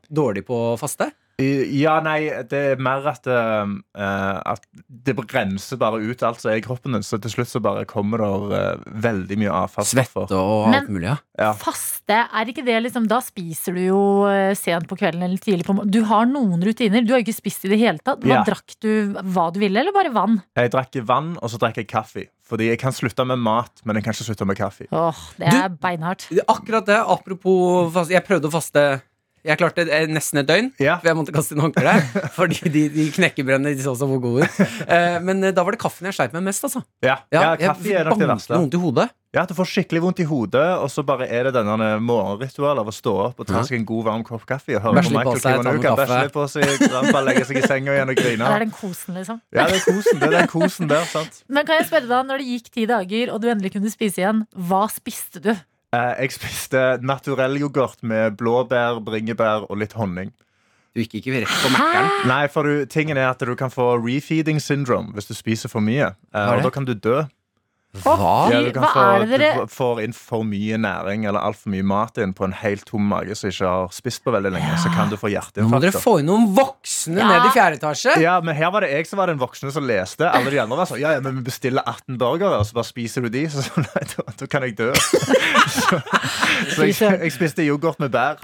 Speaker 4: dårlig på faste?
Speaker 7: I- Ja, nei, det er mer at, eh, eh, at det renser bare ut alt som er i kroppen din. Så til slutt så bare kommer det veldig mye avfallsstoffer.
Speaker 4: Svette og
Speaker 2: Men-
Speaker 4: alt mulig, ja.
Speaker 7: Ja.
Speaker 2: Faste, er ikke det liksom Da spiser du jo eh, sent på kvelden eller tidlig på morgenen. Du har noen rutiner. Du har jo ikke spist i det hele tatt. Hva
Speaker 7: Ja.
Speaker 2: Drakk du hva du ville, eller bare vann?
Speaker 7: Jeg drakk vann, og så drakk jeg kaffe. Fordi jeg kan slutte med mat, men jeg kan ikke slutte med kaffe.
Speaker 2: Åh, det er beinhardt.
Speaker 4: Akkurat det. Apropos faste. Jeg prøvde å faste. Jeg klarte eh, nesten et døgn.
Speaker 7: Ja.
Speaker 4: For jeg måtte kaste inn
Speaker 7: [laughs]
Speaker 4: håndkleet. Fordi de, de knekkebrødene de så så hvor gode ut. Eh, Men eh, da var det kaffen jeg sleit med mest, altså.
Speaker 7: Ja, ja, kaffe
Speaker 4: jeg
Speaker 7: er nok det
Speaker 4: banket
Speaker 7: verste.
Speaker 4: vondt i hodet.
Speaker 7: Ja, Du får skikkelig vondt i hodet, og så bare er det denne morgenritualet av å stå opp og ta seg en god, varm kopp kaffe og høre
Speaker 4: Bæsje litt på
Speaker 7: på Michael
Speaker 4: seg, ta noe
Speaker 7: Kiwanuka.
Speaker 4: kaffe.
Speaker 7: Bæsje litt på seg, rampe, legge seg i senga igjen og
Speaker 2: Ja,
Speaker 7: grine.
Speaker 2: det [laughs] er den kosen, liksom.
Speaker 7: Ja, det er kosen, det er den kosen der, sant?
Speaker 2: Men kan jeg spørre deg, når det gikk ti dager, og du endelig kunne spise igjen, hva spiste du?
Speaker 7: Eh, Jeg spiste naturell yoghurt med blåbær, bringebær og litt honning.
Speaker 4: Du gikk ikke rett på Mækkern.
Speaker 7: Nei, for du, tingen er at du kan få refeeding syndrome hvis du spiser for mye. Eh,
Speaker 4: er
Speaker 7: Og
Speaker 4: det?
Speaker 7: da kan du dø.
Speaker 2: Hva?
Speaker 7: Ja, du kan
Speaker 2: Hva
Speaker 7: få,
Speaker 2: er det dere-
Speaker 7: Du får inn for mye næring eller altfor mye mat inn på en helt tom mage som ikke har spist på veldig lenge. Så kan du få
Speaker 4: Nå må
Speaker 7: hjerteinfarkt.
Speaker 4: dere få inn noen voksne
Speaker 2: Ja.
Speaker 4: ned i fjerde etasje.
Speaker 7: Ja, men her var det jeg som var den voksne som leste. Alle de andre var sånn Ja, ja, men vi bestiller 18 burgere, og så bare spiser du de. Så sånn, nei, da, da kan jeg dø. [laughs] Så, så jeg, jeg spiste yoghurt med bær.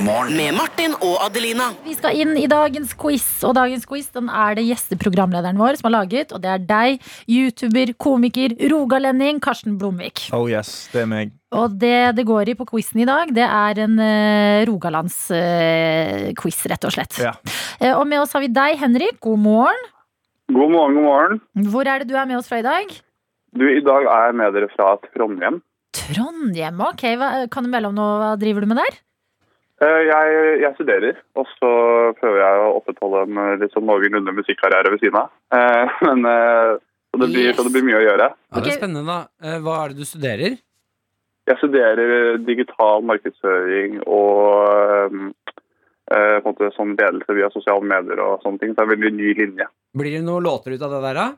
Speaker 5: Med Martin og Adelina.
Speaker 2: Vi skal inn i dagens quiz, og dagens quiz den er det gjesteprogramlederen vår som har laget. Og det er deg, youtuber, komiker, rogalending Karsten Blomvik.
Speaker 7: Oh yes, det er meg.
Speaker 2: Og det det går i på quizen i dag, det er en eh, Rogalands-quiz, rett og slett.
Speaker 7: Ja.
Speaker 2: Eh, Og med oss har vi deg, Henrik. God morgen.
Speaker 8: God morgen, god morgen.
Speaker 2: Hvor er det du er med oss fra i dag?
Speaker 8: Du, I dag er jeg med dere fra Trondheim.
Speaker 2: Trondheim, ok. Hva, kan du melde om noe? Hva driver du med der?
Speaker 8: Eh, Jeg, jeg studerer, og så prøver jeg å opprettholde en eh, litt sånn noenlunde musikkarriere ved siden av. Eh, [laughs] Men, eh, så, det blir, så det blir mye å gjøre.
Speaker 4: Ja, det
Speaker 2: Ok.
Speaker 4: er spennende, da. Eh, Hva er det du studerer?
Speaker 8: Jeg studerer eh, digital markedsføring og eh, eh, på en måte sånn ledelse via sosiale medier og sånne ting. Så det er en veldig ny linje.
Speaker 4: Blir det noen låter ut av det der, da?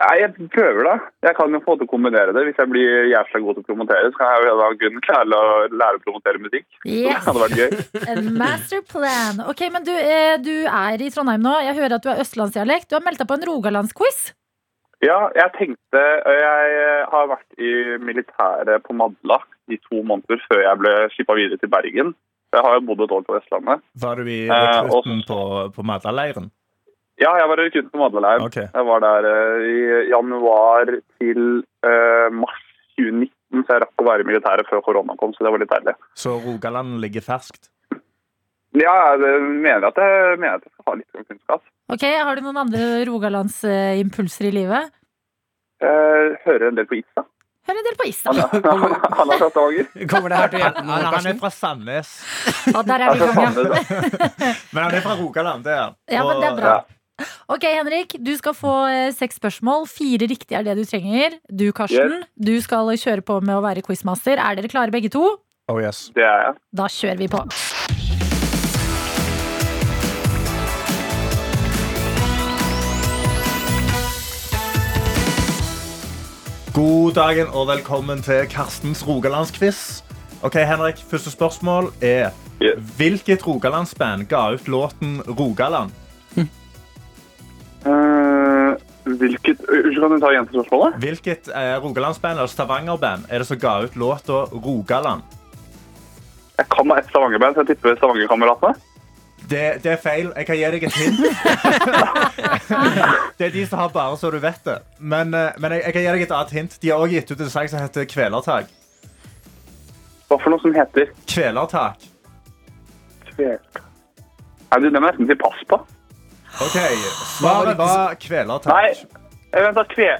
Speaker 8: Nei, Jeg prøver, da. Jeg kan jo på en måte kombinere det. Hvis jeg blir jævla god til å promotere, så kan jeg jo da kunne klare å lære å promotere musikk. Så det
Speaker 2: Yes,
Speaker 8: hadde vært gøy.
Speaker 2: en masterplan. Ok, men du, eh, du er i Trondheim nå. Jeg hører at du er østlandsdialekt. Du har meldt deg på en Rogalands-quiz.
Speaker 8: Ja, jeg tenkte Jeg eh, har vært i militæret på Madla i to måneder før jeg ble skippa videre til Bergen. Jeg har jo bodd et år på Vestlandet.
Speaker 7: Var du i
Speaker 8: Eh, og-
Speaker 7: rekrutten på, på Madla-leiren?
Speaker 8: Ja, jeg var rekrutt på Madla-leir.
Speaker 7: Ok.
Speaker 8: Jeg var der eh, i januar til eh, mars 2019, så jeg rakk å være i militæret før korona kom, så det var litt deilig.
Speaker 7: Så Rogaland ligger ferskt?
Speaker 8: Ja, jeg mener at jeg, mener at jeg skal ha litt sånn kunnskap.
Speaker 2: Ok, Har du noen andre Rogalands-impulser i eh, livet?
Speaker 8: Jeg Eh, hører en del på Itza.
Speaker 2: Hører en del på Island.
Speaker 8: Altså, [laughs] Han har tatt dager.
Speaker 4: Kommer det her til å
Speaker 7: [laughs]
Speaker 4: hjelpe noe,
Speaker 7: Han, han er
Speaker 4: Karsten?
Speaker 7: fra Sandnes,
Speaker 2: Og der
Speaker 8: [laughs]
Speaker 2: er vi i gang, ja.
Speaker 7: men han er fra Rogaland. Det er. han.
Speaker 2: Ja, men det er
Speaker 7: Og-
Speaker 2: bra. Ok, Henrik, du skal få eh, seks spørsmål. Fire riktige er det du trenger. Du, Karsten, du skal kjøre på med å være quizmaster. Er dere klare, begge to?
Speaker 7: Oh, yes.
Speaker 8: Det er jeg.
Speaker 2: Da kjører vi på.
Speaker 7: God dagen og velkommen til Karstens Rogalandsquiz. Ok, Henrik, Første spørsmål er
Speaker 8: Yes.
Speaker 7: Hvilket rogalandsband ga ut låten Rogaland?
Speaker 8: Eh, hvilket Unnskyld, kan du ta jentespørsmålet?
Speaker 7: Hvilket eh, rogalandsband eller stavanger er det som ga ut låta Rogaland?
Speaker 8: Jeg kan da ett Stavanger-band, så jeg tipper Stavanger-kameratene.
Speaker 7: Det, det er feil. Jeg kan gi deg et hint. [laughs] det er de som har bare så du vet det. Men, eh, men jeg, jeg kan gi deg et annet hint. De har også gitt ut en sang som heter Kvelertak.
Speaker 8: Hva for noe som heter
Speaker 7: Kvelertak.
Speaker 8: Kvel... Nei, du, det må jeg nesten si pass på.
Speaker 7: OK. Svaret var Kvelertak.
Speaker 8: Nei, eh, vent, da. Kve...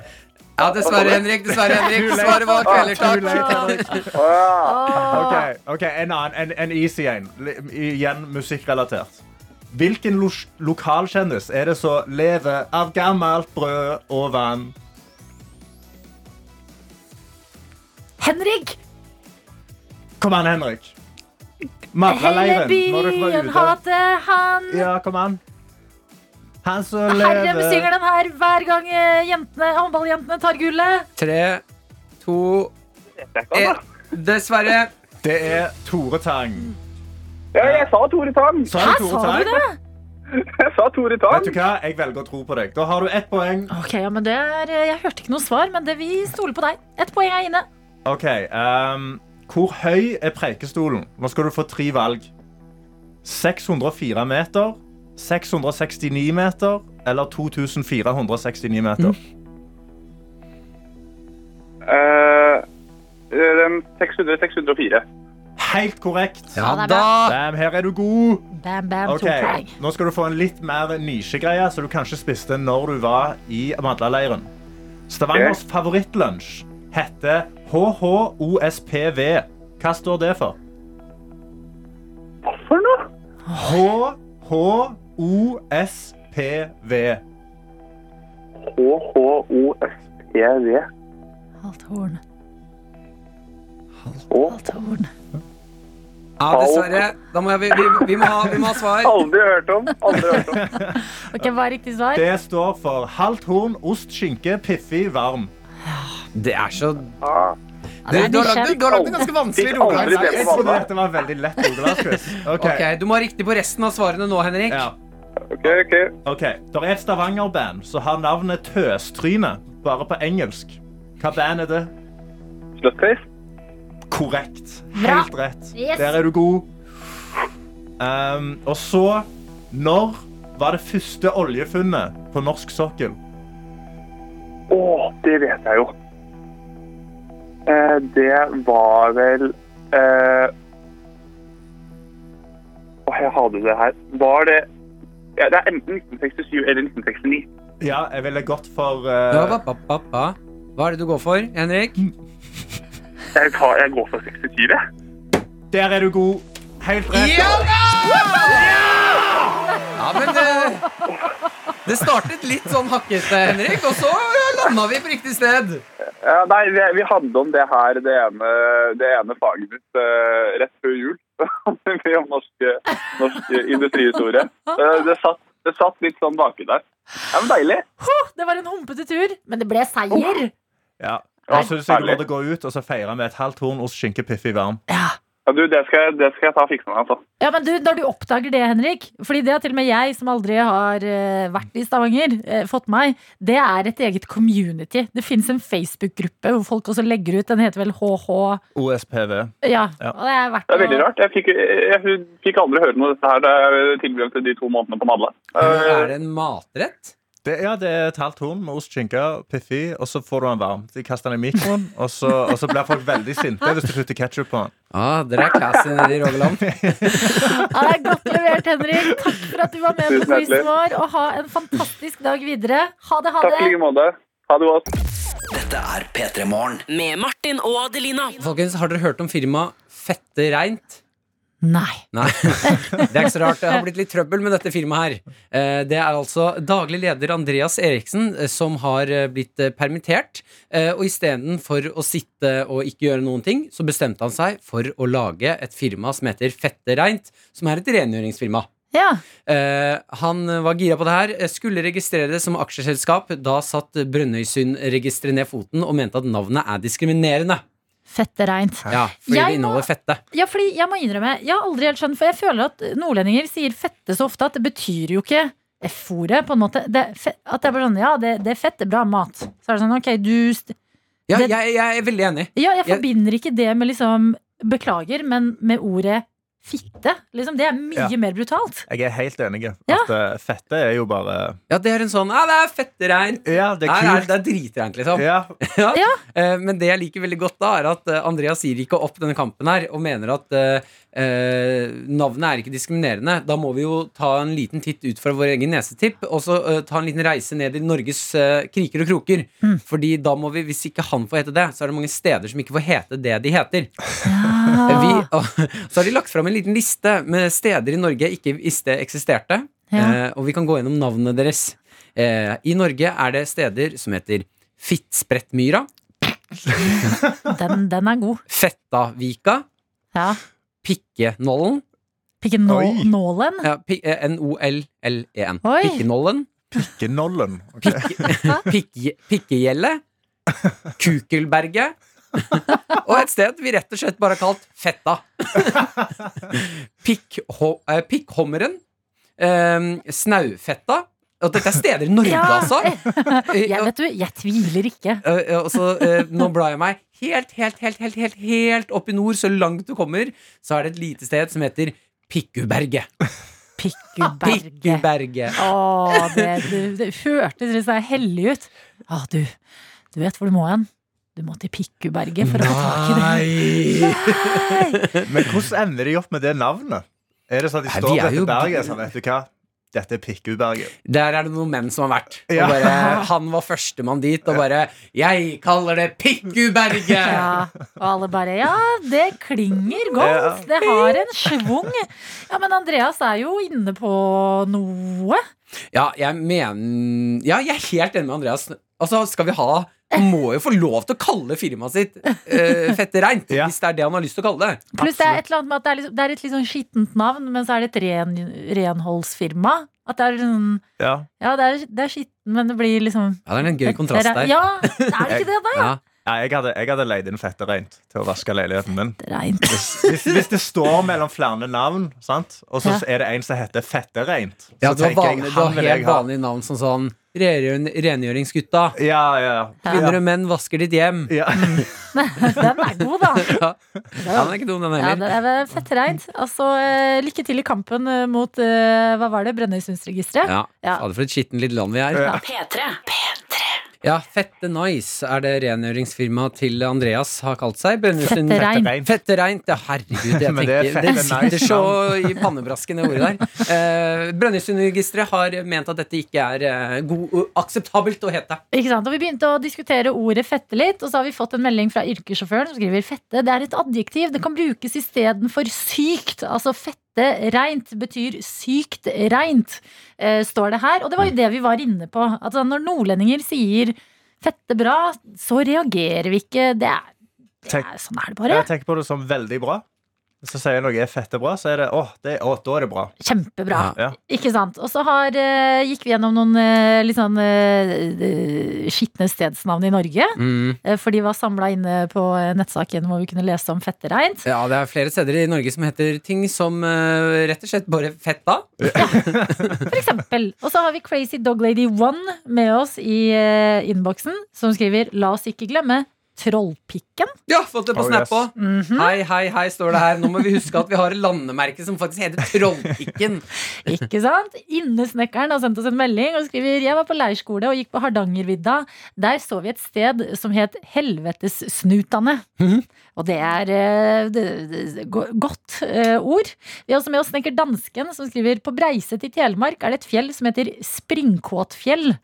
Speaker 4: Ja, dessverre, Henrik. Dessverre, Henrik. Svaret var
Speaker 7: Ah,
Speaker 4: kvelertak.
Speaker 7: Ok, ok, en annen, en, en easy en. Li- Igjen musikkrelatert. Hvilken lo lokalkjendis er det som lever av gammelt brød og vann?
Speaker 2: Henrik!
Speaker 7: Kom an, Henrik.
Speaker 2: Hele
Speaker 7: Mavraleiren. Når dere var
Speaker 2: byen
Speaker 7: ute.
Speaker 2: hater han.
Speaker 7: Ja, kom an. Han som
Speaker 2: Herre
Speaker 7: lever
Speaker 2: synger den her hver gang eh, jentene, håndballjentene tar gullet.
Speaker 4: Tre, to,
Speaker 8: Jeg, kan,
Speaker 4: én.
Speaker 8: da.
Speaker 4: Dessverre.
Speaker 7: Det er Tore Tang.
Speaker 8: ja, jeg sa Tore Tang!
Speaker 7: Så er
Speaker 2: Hæ,
Speaker 7: det Tore
Speaker 2: sa du
Speaker 7: Tang.
Speaker 2: det?
Speaker 8: Jeg sa Tore
Speaker 7: Vet
Speaker 8: Tang!
Speaker 7: du hva? Jeg velger å tro på deg. Da har du ett poeng.
Speaker 2: Ok, ja, men det er, eh, Jeg hørte ikke noe svar, men det, vi stoler på deg. Ett poeng er inne.
Speaker 7: OK. ehm, hvor høy er Preikestolen? Nå skal du få tre valg. 604 meter, 669 meter eller 2469 meter.
Speaker 8: Eh, den 600-604.
Speaker 7: Helt korrekt.
Speaker 4: Ja
Speaker 2: det er
Speaker 4: da.
Speaker 7: Bam, her er du god.
Speaker 2: Bam, bam,
Speaker 7: Ok,
Speaker 2: to poeng.
Speaker 7: Nå skal du få en litt mer nisjegreie, som du kanskje spiste når du var i Madlaleiren. Stavangers favorittlunsj heter HHOSPV. Hva står det for?
Speaker 8: Hva for noe?
Speaker 7: HHOSPV.
Speaker 8: H-H-O-S-E-V.
Speaker 2: Halvt horn.
Speaker 8: Å,
Speaker 2: Halvt horn.
Speaker 4: Ja, dessverre. Da må jeg, vi, vi, vi, må ha, vi må ha svar.
Speaker 8: Aldri hørt om. Aldri hørt om.
Speaker 2: Ok, Hva er riktig svar?
Speaker 7: Det står for halvt horn, ost, skinke, piffi, varm.
Speaker 4: Det er så
Speaker 8: Ah.
Speaker 4: Du,
Speaker 2: det er
Speaker 4: du har lagd
Speaker 2: nysgjerrig.
Speaker 4: det- du har lagd det ganske vanskelig
Speaker 8: Fikk aldri
Speaker 4: rogalandsquiz.
Speaker 8: det
Speaker 7: Jeg
Speaker 8: på
Speaker 7: trodde
Speaker 8: banen.
Speaker 7: dette var en veldig lett Rogalandsquiz. Ok,
Speaker 4: Ok, Du må ha riktig på resten av svarene nå, Henrik.
Speaker 7: Ja,
Speaker 8: Ok, ok.
Speaker 7: ok. Der er et Stavanger-band som har navnet Tøstryne, bare på engelsk. Hva band er det?
Speaker 8: Slutface.
Speaker 7: Korrekt.
Speaker 2: Bra.
Speaker 7: Helt rett.
Speaker 2: Yes.
Speaker 7: Der er du god. Ehm, og så Når var det første oljefunnet på norsk sokkel?
Speaker 8: Å, det vet jeg jo. Eh, det var vel eh... Åh, jeg hadde det her. Var det ja, Det er enten 1967 eller 1969.
Speaker 7: Ja, jeg ville gått for
Speaker 4: Ja,
Speaker 7: eh,
Speaker 4: ba, ba, ba, ba. Hva er det du går for, Henrik?
Speaker 8: Jeg, tar, jeg går for 67, jeg.
Speaker 7: Der er du god. Helt rett.
Speaker 4: Ja da! Ja, men eh, Det startet litt sånn hakkete, Henrik, og så landa vi på riktig sted.
Speaker 8: Ja, nei, vi, vi hadde om det her, det ene, det ene faget mitt eh, rett før jul. [laughs] Mye om norsk, norsk industrihistorie. Eh, det, satt, det satt litt sånn baki der. Ja, men deilig.
Speaker 2: Det var en humpete tur, men det ble seier.
Speaker 7: Ja. Jeg syns jeg du
Speaker 8: herlig.
Speaker 7: måtte gå ut og så feire med et halvt horn ost, skinke, piffi, varm.
Speaker 8: Ja, du, det skal, jeg- det skal jeg ta og fikse meg, altså.
Speaker 2: Ja, men du, Når du oppdager det, Henrik Fordi det har til og med jeg, som aldri har eh, vært i Stavanger, eh, fått meg. Det er et eget community. Det fins en Facebook-gruppe hvor folk også legger ut. Den heter vel HH.
Speaker 7: OSPV.
Speaker 2: Ja,
Speaker 7: Ja.
Speaker 2: og det er verdt
Speaker 8: Det er veldig
Speaker 2: å-
Speaker 8: rart. Jeg fikk, jeg fikk aldri høre noe av dette her da jeg tilbrakte de to månedene på Madla. Eh,
Speaker 4: Er det en matrett?
Speaker 7: Det, ja, det er et halvt horn med ost, skinke, piffi, og så får du den varm. De kaster den i mikroen, og så, og så blir folk veldig sinte hvis du putter ketsjup på den.
Speaker 4: Ja, Ah, Dere er classy nede i Rogaland.
Speaker 2: Ja, det er godt levert, Henrik. Takk for at du var med på
Speaker 8: Tusen hjertelig.
Speaker 2: quizen vår. Og ha en fantastisk dag videre. Ha det, ha
Speaker 8: Takk i
Speaker 2: det.
Speaker 8: like måte. Ha det godt.
Speaker 5: Dette er P3 Morgen.
Speaker 9: Med Martin og Adelina.
Speaker 4: Folkens, har dere hørt om firmaet Fette Reint?
Speaker 2: Nei.
Speaker 4: Nei, [laughs] det er ikke så rart. Det har blitt litt trøbbel med dette firmaet her. Eh, Det er altså daglig leder Andreas Eriksen eh, som har eh, blitt eh, permittert. Eh, Og istedenfor å sitte og ikke gjøre noen ting, så bestemte han seg for å lage et firma som heter Fette Reint, som er et rengjøringsfirma.
Speaker 2: Ja.
Speaker 4: Eh, han var gira på det her. eh, Skulle registrere det som aksjeselskap. Da satt Brønnøysundregisteret ned foten og mente at navnet er diskriminerende.
Speaker 2: Fette reint.
Speaker 4: Ja, fordi
Speaker 2: Jeg
Speaker 4: det
Speaker 2: må-
Speaker 4: inneholder fette.
Speaker 2: Ja, fordi jeg må innrømme, jeg har aldri helt skjønt, for jeg føler at nordlendinger sier fette så ofte at det betyr jo ikke F-ordet, på en måte. Det, er fe- at det er bare sånn, ja, det, det er fett, det er bra mat. Så er det sånn, ok, du st-
Speaker 4: Ja,
Speaker 2: Det-
Speaker 4: jeg, jeg er veldig enig.
Speaker 2: Ja, jeg
Speaker 4: Jeg-
Speaker 2: forbinder ikke det med liksom Beklager, men med ordet fitte. Liksom, det er mye
Speaker 7: Ja.
Speaker 2: mer
Speaker 7: [laughs]
Speaker 2: brutalt.
Speaker 7: Jeg er helt enig. At
Speaker 2: Ja.
Speaker 7: eh, fette er jo bare
Speaker 4: Ja, det er en sånn Ja, det er fettereint.
Speaker 7: Ja, det
Speaker 4: Nei,
Speaker 7: er
Speaker 4: nei,
Speaker 7: kult.
Speaker 4: det er dritreint, liksom. [laughs]
Speaker 7: Ja,
Speaker 4: Eh, Men det jeg liker veldig godt, da er at eh, Andreas sier ikke opp denne kampen her og mener at eh, eh, navnet er ikke diskriminerende. Da må vi jo ta en liten titt ut fra vår egen nesetipp og så eh, ta en liten reise ned i Norges eh, kriker og kroker. Fordi da må vi, hvis ikke han får hete det, så er det mange steder som ikke får hete det de heter.
Speaker 2: Ja.
Speaker 4: Vi, og, [laughs] så har de lagt fram en liten liste med steder i Norge ikke visste eksisterte.
Speaker 2: Ja.
Speaker 4: Eh, og vi kan gå gjennom navnene deres. Eh, I Norge er det steder som heter Fittsprettmyra,
Speaker 2: Ah, Den, den er god.
Speaker 4: Fettavika,
Speaker 2: Ja.
Speaker 4: Pikkenollen
Speaker 2: Pikke
Speaker 7: Oi.
Speaker 2: nå- nålen.
Speaker 4: ja, pi- eh, N-O-L-L-E-N.
Speaker 2: Oi.
Speaker 4: Pikkenollen.
Speaker 7: ikke nollen. ok.
Speaker 4: Pikke- Pikkegjelle. Kukelberget. og et sted vi rett og slett bare har kalt Fetta. Pikkho- eh, Pikkhommeren. Eh, Snaufetta. Og dette er steder i Norge,
Speaker 2: Ja. eh,
Speaker 4: altså.
Speaker 2: Jeg, vet du, jeg tviler ikke.
Speaker 4: Eh, eh, og så, eh, nå blar jeg meg helt, helt, helt, helt, helt, helt opp i nord, så langt du kommer, så er det et lite sted som heter Pikkuberget.
Speaker 2: Pikkuberget.
Speaker 4: Pikkuberget.
Speaker 2: Å, det, det, det hørtes litt sånn hellig ut. Å, du, du vet hvor du må hen. Du må til Pikkuberget for å få tak i
Speaker 4: Nei!
Speaker 2: det. Nei.
Speaker 7: Men hvordan ender de opp med det navnet? Er det sånn at de
Speaker 4: Nei,
Speaker 7: står
Speaker 4: vi
Speaker 7: på
Speaker 4: er jo-
Speaker 7: dette berget sånn, vet du hva? Dette er Pikkuberget.
Speaker 4: Der er det noen menn som har vært. Og
Speaker 7: Ja.
Speaker 4: bare, han var førstemann dit, og bare 'Jeg kaller det Pikkuberget'!
Speaker 2: Ja, og alle bare Ja, det klinger godt. Det har en schwung. Ja, men Andreas er jo inne på noe.
Speaker 4: Ja, jeg mener Ja, jeg er helt enig med Andreas. Altså, skal vi ha Han må jo få lov til å kalle firmaet sitt uh, Fette Reint,
Speaker 7: Ja.
Speaker 4: hvis det er det han har lyst til å kalle det.
Speaker 2: Pluss det er et eller annet med at det er, liksom, det er et litt sånn skittent navn, men så er det et ren, renholdsfirma. At det er sånn
Speaker 7: Ja.
Speaker 2: Ja, det er, det er skitten, men det blir liksom
Speaker 4: Ja, det er en gøy kontrast der.
Speaker 2: Ja, er det ikke det,
Speaker 4: [laughs]
Speaker 2: da?
Speaker 4: Ja.
Speaker 7: Nei, jeg hadde, jeg hadde leid inn fette rent til å vaske leiligheten min.
Speaker 2: Reint.
Speaker 7: Hvis, hvis det står mellom flere navn, sant? og så er det en som heter Fettereint, så
Speaker 4: Ja, du har,
Speaker 7: tenker jeg
Speaker 4: vanlig, du har
Speaker 7: han vil jeg
Speaker 4: helt
Speaker 7: ha.
Speaker 4: vanlige navn som sånn rengjøring, Rengjøringsgutta.
Speaker 7: Ja, ja,
Speaker 4: Kvinner og menn vasker ditt hjem.
Speaker 7: ja.
Speaker 2: Mm. Den er god, da.
Speaker 4: [laughs] Ja, den er ikke dum, den
Speaker 2: Ja, det
Speaker 4: heller.
Speaker 2: er vel fett reint. Altså, eh, lykke til i kampen eh, mot eh, hva var det, Brønnøysundsregisteret.
Speaker 4: Ja,
Speaker 2: Ja.
Speaker 4: Fader, for et skittent lite land vi er.
Speaker 9: P3.
Speaker 4: Ja, Fette Nice er det rengjøringsfirmaet til Andreas har kalt seg. Brønnøysund-
Speaker 2: Fette Rein.
Speaker 7: Rein.
Speaker 4: Fette Reint. Ja, herregud, [laughs] jeg
Speaker 7: Men det er
Speaker 4: tenker
Speaker 7: Fette
Speaker 4: Det sitter
Speaker 7: Nice
Speaker 4: så i pannebrasken, det ordet [laughs] der. Eh, Brønnøysundregisteret har ment at dette ikke er eh, god, akseptabelt å hete.
Speaker 2: Ikke sant? Og Vi begynte å diskutere ordet fette litt, og så har vi fått en melding fra yrkessjåføren som skriver fette. Det er et adjektiv. Det kan brukes istedenfor sykt. Altså fette reint betyr sykt reint, eh, står det her. Og det var jo det vi var inne på. Altså, når nordlendinger sier fette bra, så reagerer vi ikke. Det er, det
Speaker 7: [laughs] Tenk-
Speaker 2: er sånn er det bare.
Speaker 7: Jeg tenker på det som veldig bra. Så sier jeg noe er fette bra, så er det åh, det, åh da er det bra.
Speaker 2: Kjempebra.
Speaker 7: Ja.
Speaker 2: Ikke sant. Og så har, eh, gikk vi gjennom noen eh, litt sånn eh, eh, skitne stedsnavn i Norge.
Speaker 4: Mm.
Speaker 2: Eh, For de var samla inne på eh, nettsaken hvor vi kunne lese om fettereint.
Speaker 4: Ja, det er flere steder i Norge som heter ting som eh, rett og slett bare fetta.
Speaker 2: For eksempel. Og så har vi Crazy Dog Lady One med oss i eh, innboksen, som skriver 'La oss ikke glemme Trollpikken.
Speaker 4: Ja, fått det på
Speaker 7: Oh,
Speaker 4: Snap
Speaker 7: yes.
Speaker 4: òg.
Speaker 2: Mhm.
Speaker 4: Hei, hei, hei, står det her. Nå må vi huske at vi har et landemerke som faktisk heter Trollpikken.
Speaker 2: Ikke sant? Innesnekkeren har sendt oss en melding og skriver Jeg var på leirskole og gikk på Hardangervidda. Der så vi et sted som het Helvetessnutane. Og det er eh, det- det- go- godt eh, ord. Vi har også med oss snekker Dansken, som skriver På Breiset i Telemark er det et fjell som heter Springkåtfjell.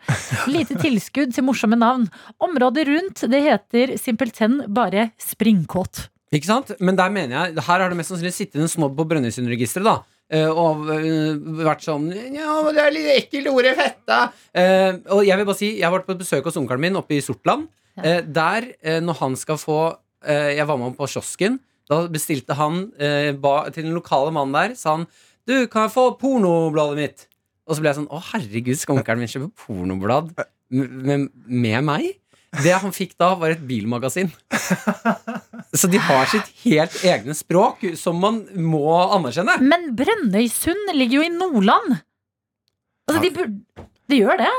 Speaker 2: Lite tilskudd til morsomme navn. Området rundt det heter simpelthen bare Springkåt.
Speaker 4: [laughs] Ikke sant? Men der mener jeg Her har det mest sannsynlig sittet en snobb på Brønnøysundregisteret, da. eh, Og eh, vært sånn Ja, men det er litt ekkelt, ordet fetta. Eh, Og jeg vil bare si, jeg har vært på et besøk hos onkelen min oppe i Sortland.
Speaker 2: Ja.
Speaker 4: Eh, Der, eh, når han skal få eh, Jeg var med ham på kiosken. Da bestilte han eh, ba, til den lokale mannen der, sa han Du, kan jeg få pornobladet mitt? Og så ble jeg sånn Å, herregud, skal onkelen min kjøpe pornoblad med, med meg? Det han fikk da, var et bilmagasin. Så de har sitt helt egne språk, som man må anerkjenne.
Speaker 2: Men Brønnøysund ligger jo i Nordland. Altså, de burde De gjør det.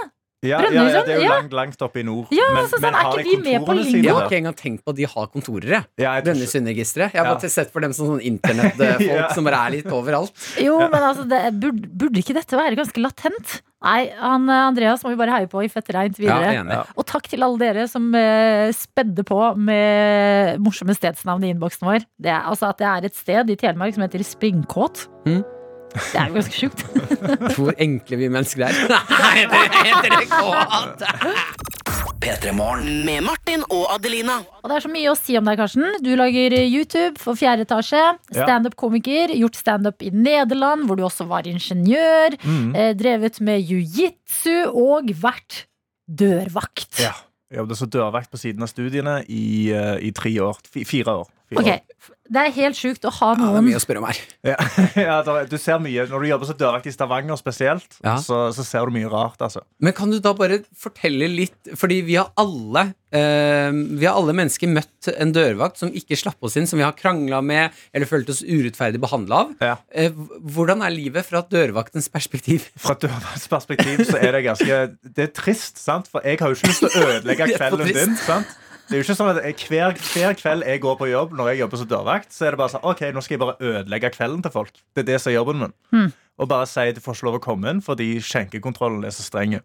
Speaker 7: Ja, ja, ja,
Speaker 2: Brønnøysund,
Speaker 7: det er
Speaker 2: sånn?
Speaker 7: jo
Speaker 2: ja.
Speaker 7: langt, langt oppe i nord.
Speaker 2: Ja, altså, sånn, er
Speaker 7: har
Speaker 2: ikke de med på
Speaker 7: kontorene
Speaker 2: linje?
Speaker 4: Jeg
Speaker 7: sine
Speaker 4: har
Speaker 7: der?
Speaker 4: ikke engang tenkt på at de har kontorer. jeg.
Speaker 7: Ja, jeg tror ikke-
Speaker 4: Brønnøysundregisteret. Jeg har bare
Speaker 7: Ja.
Speaker 4: sett for dem som sånn internettfolk
Speaker 7: [laughs] Ja.
Speaker 4: som bare er litt overalt.
Speaker 2: Jo, men altså, det, burde, burde ikke dette være ganske latent? Nei, han, eh, Andreas må vi bare heie på i fett reint videre.
Speaker 4: enig.
Speaker 2: og takk til alle dere som eh, spedde på med morsomme stedsnavn i innboksen vår. Det er, altså At det er et sted i Telemark som heter Springkåt.
Speaker 7: Mm.
Speaker 4: Mhm.
Speaker 2: Det er jo ganske sjukt.
Speaker 7: [laughs]
Speaker 4: Hvor enkle vi mennesker er. [laughs] Nei, det heter det godt.
Speaker 5: P3morgen.
Speaker 9: Med Martin og Adelina.
Speaker 2: Og det er så mye å si om deg, Karsten. Du lager eh, YouTube for fjerde etasje.
Speaker 7: Ja.
Speaker 2: Standup-komiker. Gjort standup i Nederland, hvor du også var ingeniør.
Speaker 7: Mm.
Speaker 2: Eh, drevet med jiu-jitsu og vært dørvakt.
Speaker 7: Ja. Jeg jobbet som dørvakt på siden av studiene i, eh, i tre år. Fi- Fire år. Fire
Speaker 2: Ok,
Speaker 7: år.
Speaker 2: Det er helt sjukt å ha
Speaker 4: Ja, det er
Speaker 2: noen
Speaker 4: mye sånn. å spørre om her.
Speaker 7: Ja, [laughs] ja, der- du ser mye. Når du jobber som dørvakt i Stavanger spesielt,
Speaker 4: Ja.
Speaker 7: så, så ser du mye rart, altså.
Speaker 4: Men kan du da bare fortelle litt Fordi vi har alle eh, Vi har alle mennesker møtt en dørvakt som ikke slapp oss inn, som vi har krangla med eller følt oss urettferdig behandla av.
Speaker 7: Ja.
Speaker 4: Eh, hvordan er livet fra dørvaktens perspektiv? [laughs]
Speaker 7: Fra dørvakts perspektiv så er det ganske Det er trist, sant? For jeg har jo ikke lyst til å
Speaker 4: [laughs]
Speaker 7: ødelegge
Speaker 4: Det er for
Speaker 7: kvelden
Speaker 4: trist.
Speaker 7: din. sant? Det er jo ikke sånn at jeg, hver, hver kveld jeg går på jobb når jeg jobber som dørvakt, så er det bare sånn OK, nå skal jeg bare ødelegge kvelden til folk. Det er det som er jobben min.
Speaker 4: Hmm.
Speaker 7: Og bare si at du får ikke lov å komme inn fordi skjenkekontrollen er så streng.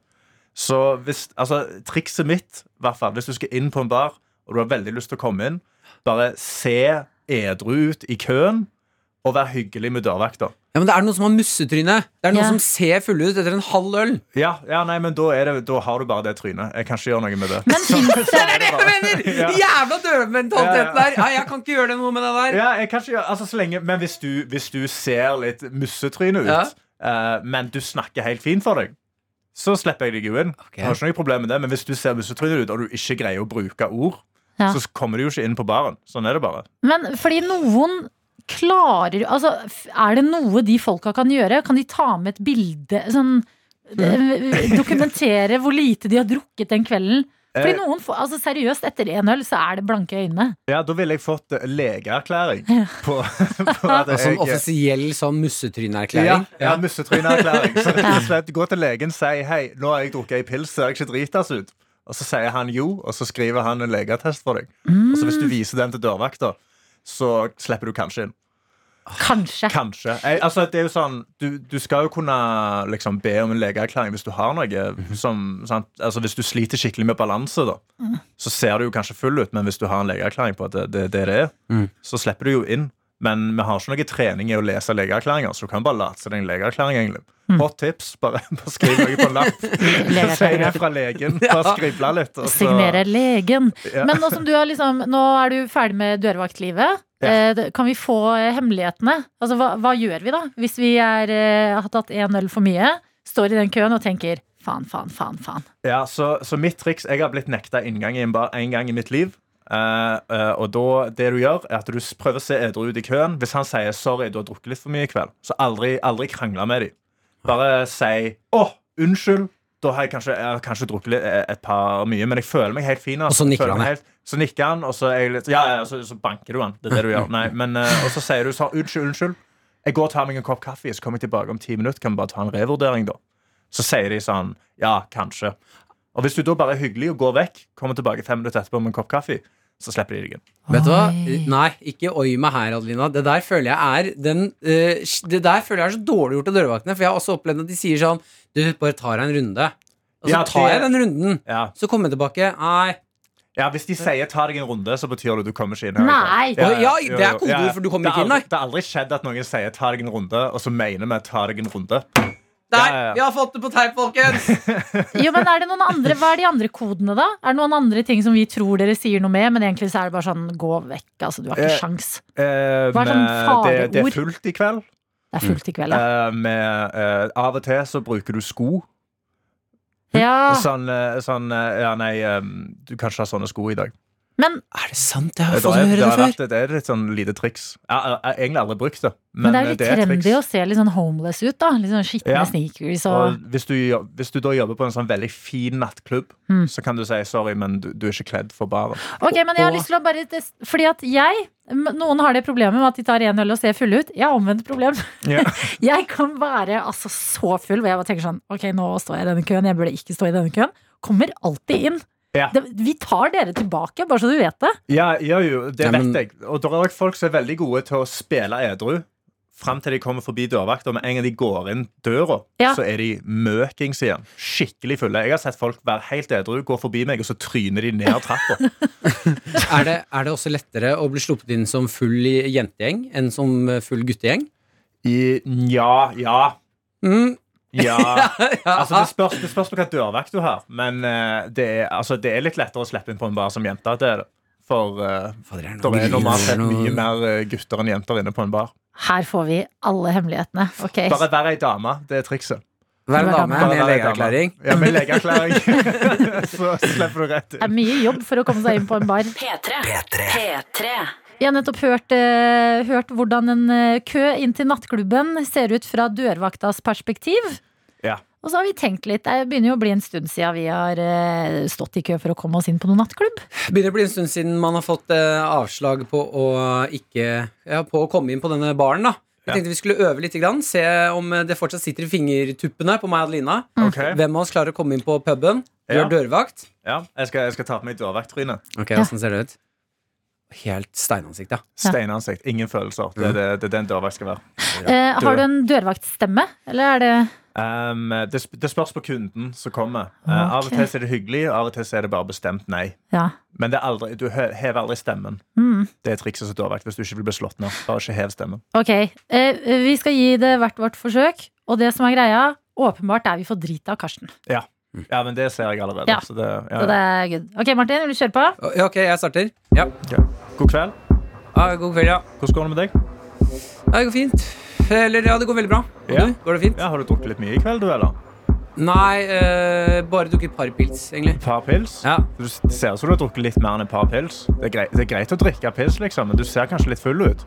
Speaker 7: Så hvis, altså, trikset mitt, i hvert fall, hvis du skal inn på en bar og du har veldig lyst til å komme inn, bare se edru ut i køen og vær hyggelig med dørvakta.
Speaker 4: Ja, men Det er noen som har mussetryne. Det er noen
Speaker 2: Ja.
Speaker 4: som ser fulle ut etter en halv øl.
Speaker 7: Ja, ja, nei, men da, er det, da har du bare det trynet. Jeg kan ikke gjøre noe med det. [laughs]
Speaker 2: Men fins
Speaker 4: Det er det jeg mener!
Speaker 7: Ja.
Speaker 4: Jævla dørmentaliteten
Speaker 7: Ja, ja.
Speaker 4: der. Ja, jeg kan ikke gjøre det noe med det der.
Speaker 7: Ja, jeg kan ikke gjøre, altså, så lenge, men hvis du, hvis du ser litt mussetryne ut,
Speaker 4: Ja.
Speaker 7: eh, men du snakker helt fint for deg, så slipper jeg deg jo inn. Jeg har ikke noe problem med det, men hvis du ser mussetryne ut, og du ikke greier å bruke ord,
Speaker 2: Ja.
Speaker 7: så kommer du jo ikke inn på baren. Sånn er det bare.
Speaker 2: Men fordi noen klarer Altså, f- er det noe de folka kan gjøre? Kan de ta med et bilde? Sånn eh, Dokumentere hvor lite de har drukket den kvelden? Fordi
Speaker 7: Eh.
Speaker 2: noen får, altså Seriøst, etter én øl så er det blanke øyne.
Speaker 7: Ja, da ville jeg fått eh, legeerklæring
Speaker 2: Ja.
Speaker 7: på, [laughs] på at
Speaker 4: Og sånn
Speaker 7: jeg eh,
Speaker 4: offisiell sånn mussetryneerklæring.
Speaker 7: ja, ja, mussetryneerklæring. Så rett og slett gå til legen og si hei, nå har jeg drukket ei pils, ser jeg ikke dritas ut? Og så sier han jo, og så skriver han en legeattest for deg. Og så hvis du viser den til dørvakta, så slipper du kanskje inn.
Speaker 2: Kanskje.
Speaker 7: Kanskje. Jeg, altså, det er jo sånn, du, du skal jo kunne liksom, be om en legeerklæring hvis du har noe som sant? Altså, Hvis du sliter skikkelig med balanse, da, så ser du jo kanskje full ut, men hvis du har en legeerklæring på at det det, det, det er, så slipper du jo inn. Men vi har ikke noe trening i å lese legeerklæringer, så du kan bare late som det er en legeerklæring. egentlig. Hot tips. Bare, [laughs] bare skriv noe på en lapp. Si det fra legen. Bare skrible litt. og så-
Speaker 2: Signere legen.
Speaker 7: Ja.
Speaker 2: Men nå som du har liksom Nå er du ferdig med dørvaktlivet.
Speaker 7: Ja.
Speaker 2: Eh, det- Kan vi få eh, hemmelighetene? Altså, hva, hva gjør vi da? Hvis vi er, eh, har tatt én øl for mye, står i den køen og tenker faen, faen, faen, faen.
Speaker 7: Ja, så, så mitt triks Jeg har blitt nekta inngang i en bar én gang i mitt liv. Eh, eh, og da, det du gjør, er at du s- prøver å se edru ut i køen. Hvis han sier 'sorry, du har drukket litt for mye i kveld', så aldri, aldri krangle med dem. Bare si 'å, unnskyld'. Da har jeg kanskje, jeg har kanskje drukket litt, eh, et par mye, men jeg føler meg helt fin. altså.
Speaker 4: Og så nikker
Speaker 7: Føler
Speaker 4: han,
Speaker 7: meg
Speaker 4: ja.
Speaker 7: helt, så nikker han, og så, er jeg litt, ja, ja, så, så banker du han. Det er det du gjør. Nei, men, eh, og så sier du sånn 'unnskyld, unnskyld'. Jeg går og tar meg en kopp kaffe, så kommer jeg tilbake om ti minutter. Kan vi bare ta en revurdering, da? Så sier de sånn Ja, kanskje. Og hvis du da bare er hyggelig og går vekk, kommer tilbake fem minutter etterpå med en kopp kaffe, så slipper de deg inn.
Speaker 4: Vet du hva?
Speaker 2: Oi.
Speaker 4: Nei, ikke oi meg her, Adelina. Det der føler jeg er den, eh, Det der føler jeg er så dårlig gjort av dørvaktene. For jeg har også opplevd at de sier sånn Du, bare tar deg en runde. Og så
Speaker 7: Ja,
Speaker 4: tar jeg
Speaker 7: det-
Speaker 4: den runden.
Speaker 7: Ja.
Speaker 4: Så kommer jeg tilbake. Nei.
Speaker 7: ja, Hvis de sier 'ta deg en runde', så betyr det at du kommer ikke inn.
Speaker 2: Nei.
Speaker 4: Å, ja, det er kodeord, for du kommer
Speaker 7: Det
Speaker 4: ikke
Speaker 7: har
Speaker 4: inn, nei.
Speaker 7: aldri- Det har aldri skjedd at noen sier 'ta deg en runde', og så mener vi 'ta deg en runde'.
Speaker 4: Der!
Speaker 7: Ja, ja, ja.
Speaker 4: Vi har fått det på teip,
Speaker 7: [laughs]
Speaker 4: folkens!
Speaker 2: Jo, men er det noen andre, Hva er de andre kodene, da? Er det noen andre ting som vi tror dere sier noe med, men egentlig så er det bare sånn gå vekk, altså du har
Speaker 7: Eh.
Speaker 2: ikke sjans.
Speaker 7: Eh,
Speaker 2: Hva er sånn
Speaker 7: men det, det
Speaker 2: fareord?
Speaker 7: er fullt i kveld.
Speaker 2: Det er fullt i kveld, ja.
Speaker 7: Eh, med, eh, av og til så bruker du sko.
Speaker 2: ja.
Speaker 7: Sånn, eh, sånn eh, Ja, nei, eh, du kan ikke ha sånne sko i dag.
Speaker 2: Men,
Speaker 4: Er det sant? Jeg
Speaker 7: Det,
Speaker 4: har fått
Speaker 7: er,
Speaker 4: høre
Speaker 7: det,
Speaker 4: det
Speaker 7: har
Speaker 4: før.
Speaker 7: vært, det er et sånn lite triks. Jeg jeg- jeg har egentlig aldri brukt det.
Speaker 2: men det er jo litt
Speaker 7: et triks.
Speaker 2: trendy å se litt sånn homeless ut, da. Litt sånn skitne
Speaker 7: Ja.
Speaker 2: sneakers
Speaker 7: Og
Speaker 2: og
Speaker 7: hvis du, jo- hvis du da jobber på en sånn veldig fin nattklubb,
Speaker 2: Mm.
Speaker 7: så kan du si 'sorry, men du, du er ikke kledd for baren'.
Speaker 2: Ok, men jeg har
Speaker 4: og-
Speaker 2: lyst til å bare Fordi at jeg Noen har det problemet med at de tar én øl og ser fulle ut. Jeg har omvendt problem.
Speaker 7: Ja.
Speaker 2: [laughs] Jeg kan være altså så full hvor jeg bare tenker sånn Ok, nå står jeg i denne køen. Jeg burde ikke stå i denne køen. Kommer alltid inn.
Speaker 7: Ja.
Speaker 2: Det, vi tar dere tilbake, bare så du vet det.
Speaker 7: Ja, ja jo, det
Speaker 4: Ja, men-
Speaker 7: vet jeg. Og det er også folk som er veldig gode til å spille edru fram til de kommer forbi dørvakt, og med en gang de går inn døra,
Speaker 2: Ja.
Speaker 7: så er de møkings igjen. Skikkelig fulle. Jeg har sett folk være helt edru, gå forbi meg, og så tryner de ned trappa.
Speaker 2: [laughs]
Speaker 4: Er det, er det også lettere å bli sluppet inn som full i- jentegjeng enn som eh, full guttegjeng?
Speaker 7: I- Ja, ja,
Speaker 4: Mm.
Speaker 7: ja.
Speaker 2: [laughs]
Speaker 7: Altså,
Speaker 4: Ja.
Speaker 7: det spørs, det spørs på hvilken dørvakt du har, men eh, det, er, altså, det er litt lettere å slippe inn på en bar som jente. Det er det. For eh,
Speaker 4: Fader, er det
Speaker 7: det
Speaker 4: noe
Speaker 7: er normalt sett
Speaker 4: noe-
Speaker 7: mye mer eh, gutter enn jenter inne på en bar.
Speaker 2: Her får vi alle hemmelighetene. Ok.
Speaker 7: Bare vær ei dame. Det er trikset.
Speaker 4: Hver dame
Speaker 7: Bare
Speaker 4: med
Speaker 7: vær ei dame.
Speaker 4: legeerklæring.
Speaker 7: Ja, med legeerklæring. Så slipper du rett
Speaker 2: Det
Speaker 7: inn.
Speaker 2: er mye jobb for å komme seg inn på en bar.
Speaker 9: P3.
Speaker 5: P3.
Speaker 9: P3.
Speaker 2: Jeg har nettopp hørt, eh, hørt hvordan en eh, kø inn til nattklubben ser ut fra dørvaktas perspektiv.
Speaker 7: Ja.
Speaker 2: Og så har vi tenkt litt. Det begynner jo å bli en stund siden vi har eh, stått i kø for å komme oss inn på noen nattklubb.
Speaker 4: [laughs] Begynner å bli en stund siden man har fått eh, avslag på å ikke ja, På å komme inn på denne baren, da. Jeg
Speaker 7: Ja.
Speaker 4: tenkte vi skulle øve litt, grann, se om eh, det fortsatt sitter i fingertuppene på meg og Adelina.
Speaker 7: Ok.
Speaker 4: Hvem av oss klarer å komme inn på puben? Du
Speaker 7: Ja.
Speaker 4: er dørvakt.
Speaker 7: Ja, jeg skal, jeg skal ta på meg dørvakttrynet.
Speaker 4: Ok,
Speaker 2: Ja.
Speaker 4: Åssen ser det ut? Helt steinansikt, ja.
Speaker 7: Steinansikt. Ingen følelser. Det er det, det, er den dørvakt skal være.
Speaker 2: Eh, har du en dørvaktstemme, eller er det
Speaker 7: Um, det, sp- det spørs på kunden som kommer. Eh, Av og
Speaker 2: Ok.
Speaker 7: til så er det hyggelig, og av og til så er det bare bestemt nei.
Speaker 2: Ja.
Speaker 7: Men det er aldri, du he- hever aldri stemmen.
Speaker 2: Mm.
Speaker 7: Det er trikset som dørvakt hvis du ikke vil bli slått ned. Bare ikke hev stemmen.
Speaker 2: Ok. Eh, vi skal gi det hvert vårt forsøk. Og det som er greia, åpenbart er vi får drit av Karsten.
Speaker 7: Ja, men det ser jeg allerede.
Speaker 2: Ja.
Speaker 7: Så det, ja,
Speaker 2: Så det
Speaker 7: ja.
Speaker 2: er good. Ok, Martin, vil du kjøre på?
Speaker 4: Ja, Ok, jeg starter. Ja.
Speaker 7: Ok. God kveld.
Speaker 4: Ah, god kveld, ja.
Speaker 7: Hvordan går det med deg?
Speaker 4: ja. Det går fint. Eller ja, det går veldig bra. Og
Speaker 7: Ja.
Speaker 4: du? Går det fint?
Speaker 7: Ja, Har du drukket litt mye i kveld, du, eller?
Speaker 4: Nei, eh, bare tok et par pils, egentlig.
Speaker 7: Et par pils?
Speaker 4: Ja.
Speaker 7: Du s- det ser ut som du har drukket litt mer enn et par pils. Det er, greit, det er greit å drikke pils, liksom, men du ser kanskje litt full ut.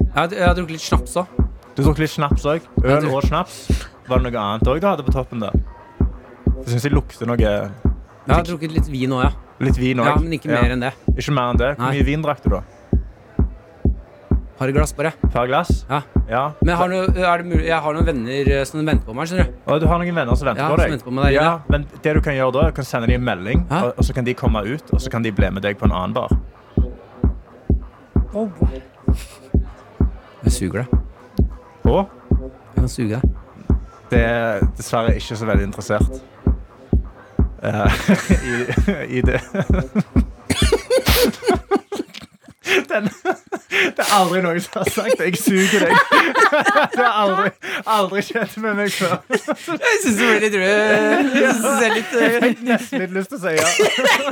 Speaker 4: Jeg har, jeg har drukket litt snaps òg.
Speaker 7: Du drakk litt snaps òg.
Speaker 4: Ja,
Speaker 7: Øl
Speaker 4: du-
Speaker 7: og snaps. Var det noe annet òg du hadde på toppen der? Jeg syns jeg lukter noe
Speaker 4: Jeg har drukket litt vin òg, ja.
Speaker 7: Litt vin òg.
Speaker 4: ja. Men ikke mer enn det.
Speaker 7: Ikke mer enn det. Hvor
Speaker 4: Nei.
Speaker 7: mye vin drakk du, da?
Speaker 4: Par glass, bare.
Speaker 7: Et par glass?
Speaker 4: Ja.
Speaker 7: Ja.
Speaker 4: Men jeg har, noe, er det mulig, jeg har noen venner eh, som venter på meg, skjønner du.
Speaker 7: Og du har noen venner som venter
Speaker 4: Ja,
Speaker 7: på
Speaker 4: som
Speaker 7: deg.
Speaker 4: venter på meg der
Speaker 7: ja,
Speaker 4: inne.
Speaker 7: men det du kan gjøre da, er å sende dem en melding,
Speaker 4: Hæ?
Speaker 7: og, og så kan de komme ut, og så kan de bli med deg på en annen bar.
Speaker 4: Jeg suger deg.
Speaker 7: Og
Speaker 4: Jeg kan suge deg.
Speaker 7: det er dessverre ikke så veldig interessert eh, [laughs] i, i det. [laughs] Den, det er aldri noen som har sagt 'jeg suger deg'. [laughs] Det har aldri, aldri skjedd med meg før.
Speaker 4: Jeg syns du blir litt rød. Jeg synes det er litt
Speaker 7: [laughs] Jeg fikk nesten litt lyst til å si ja.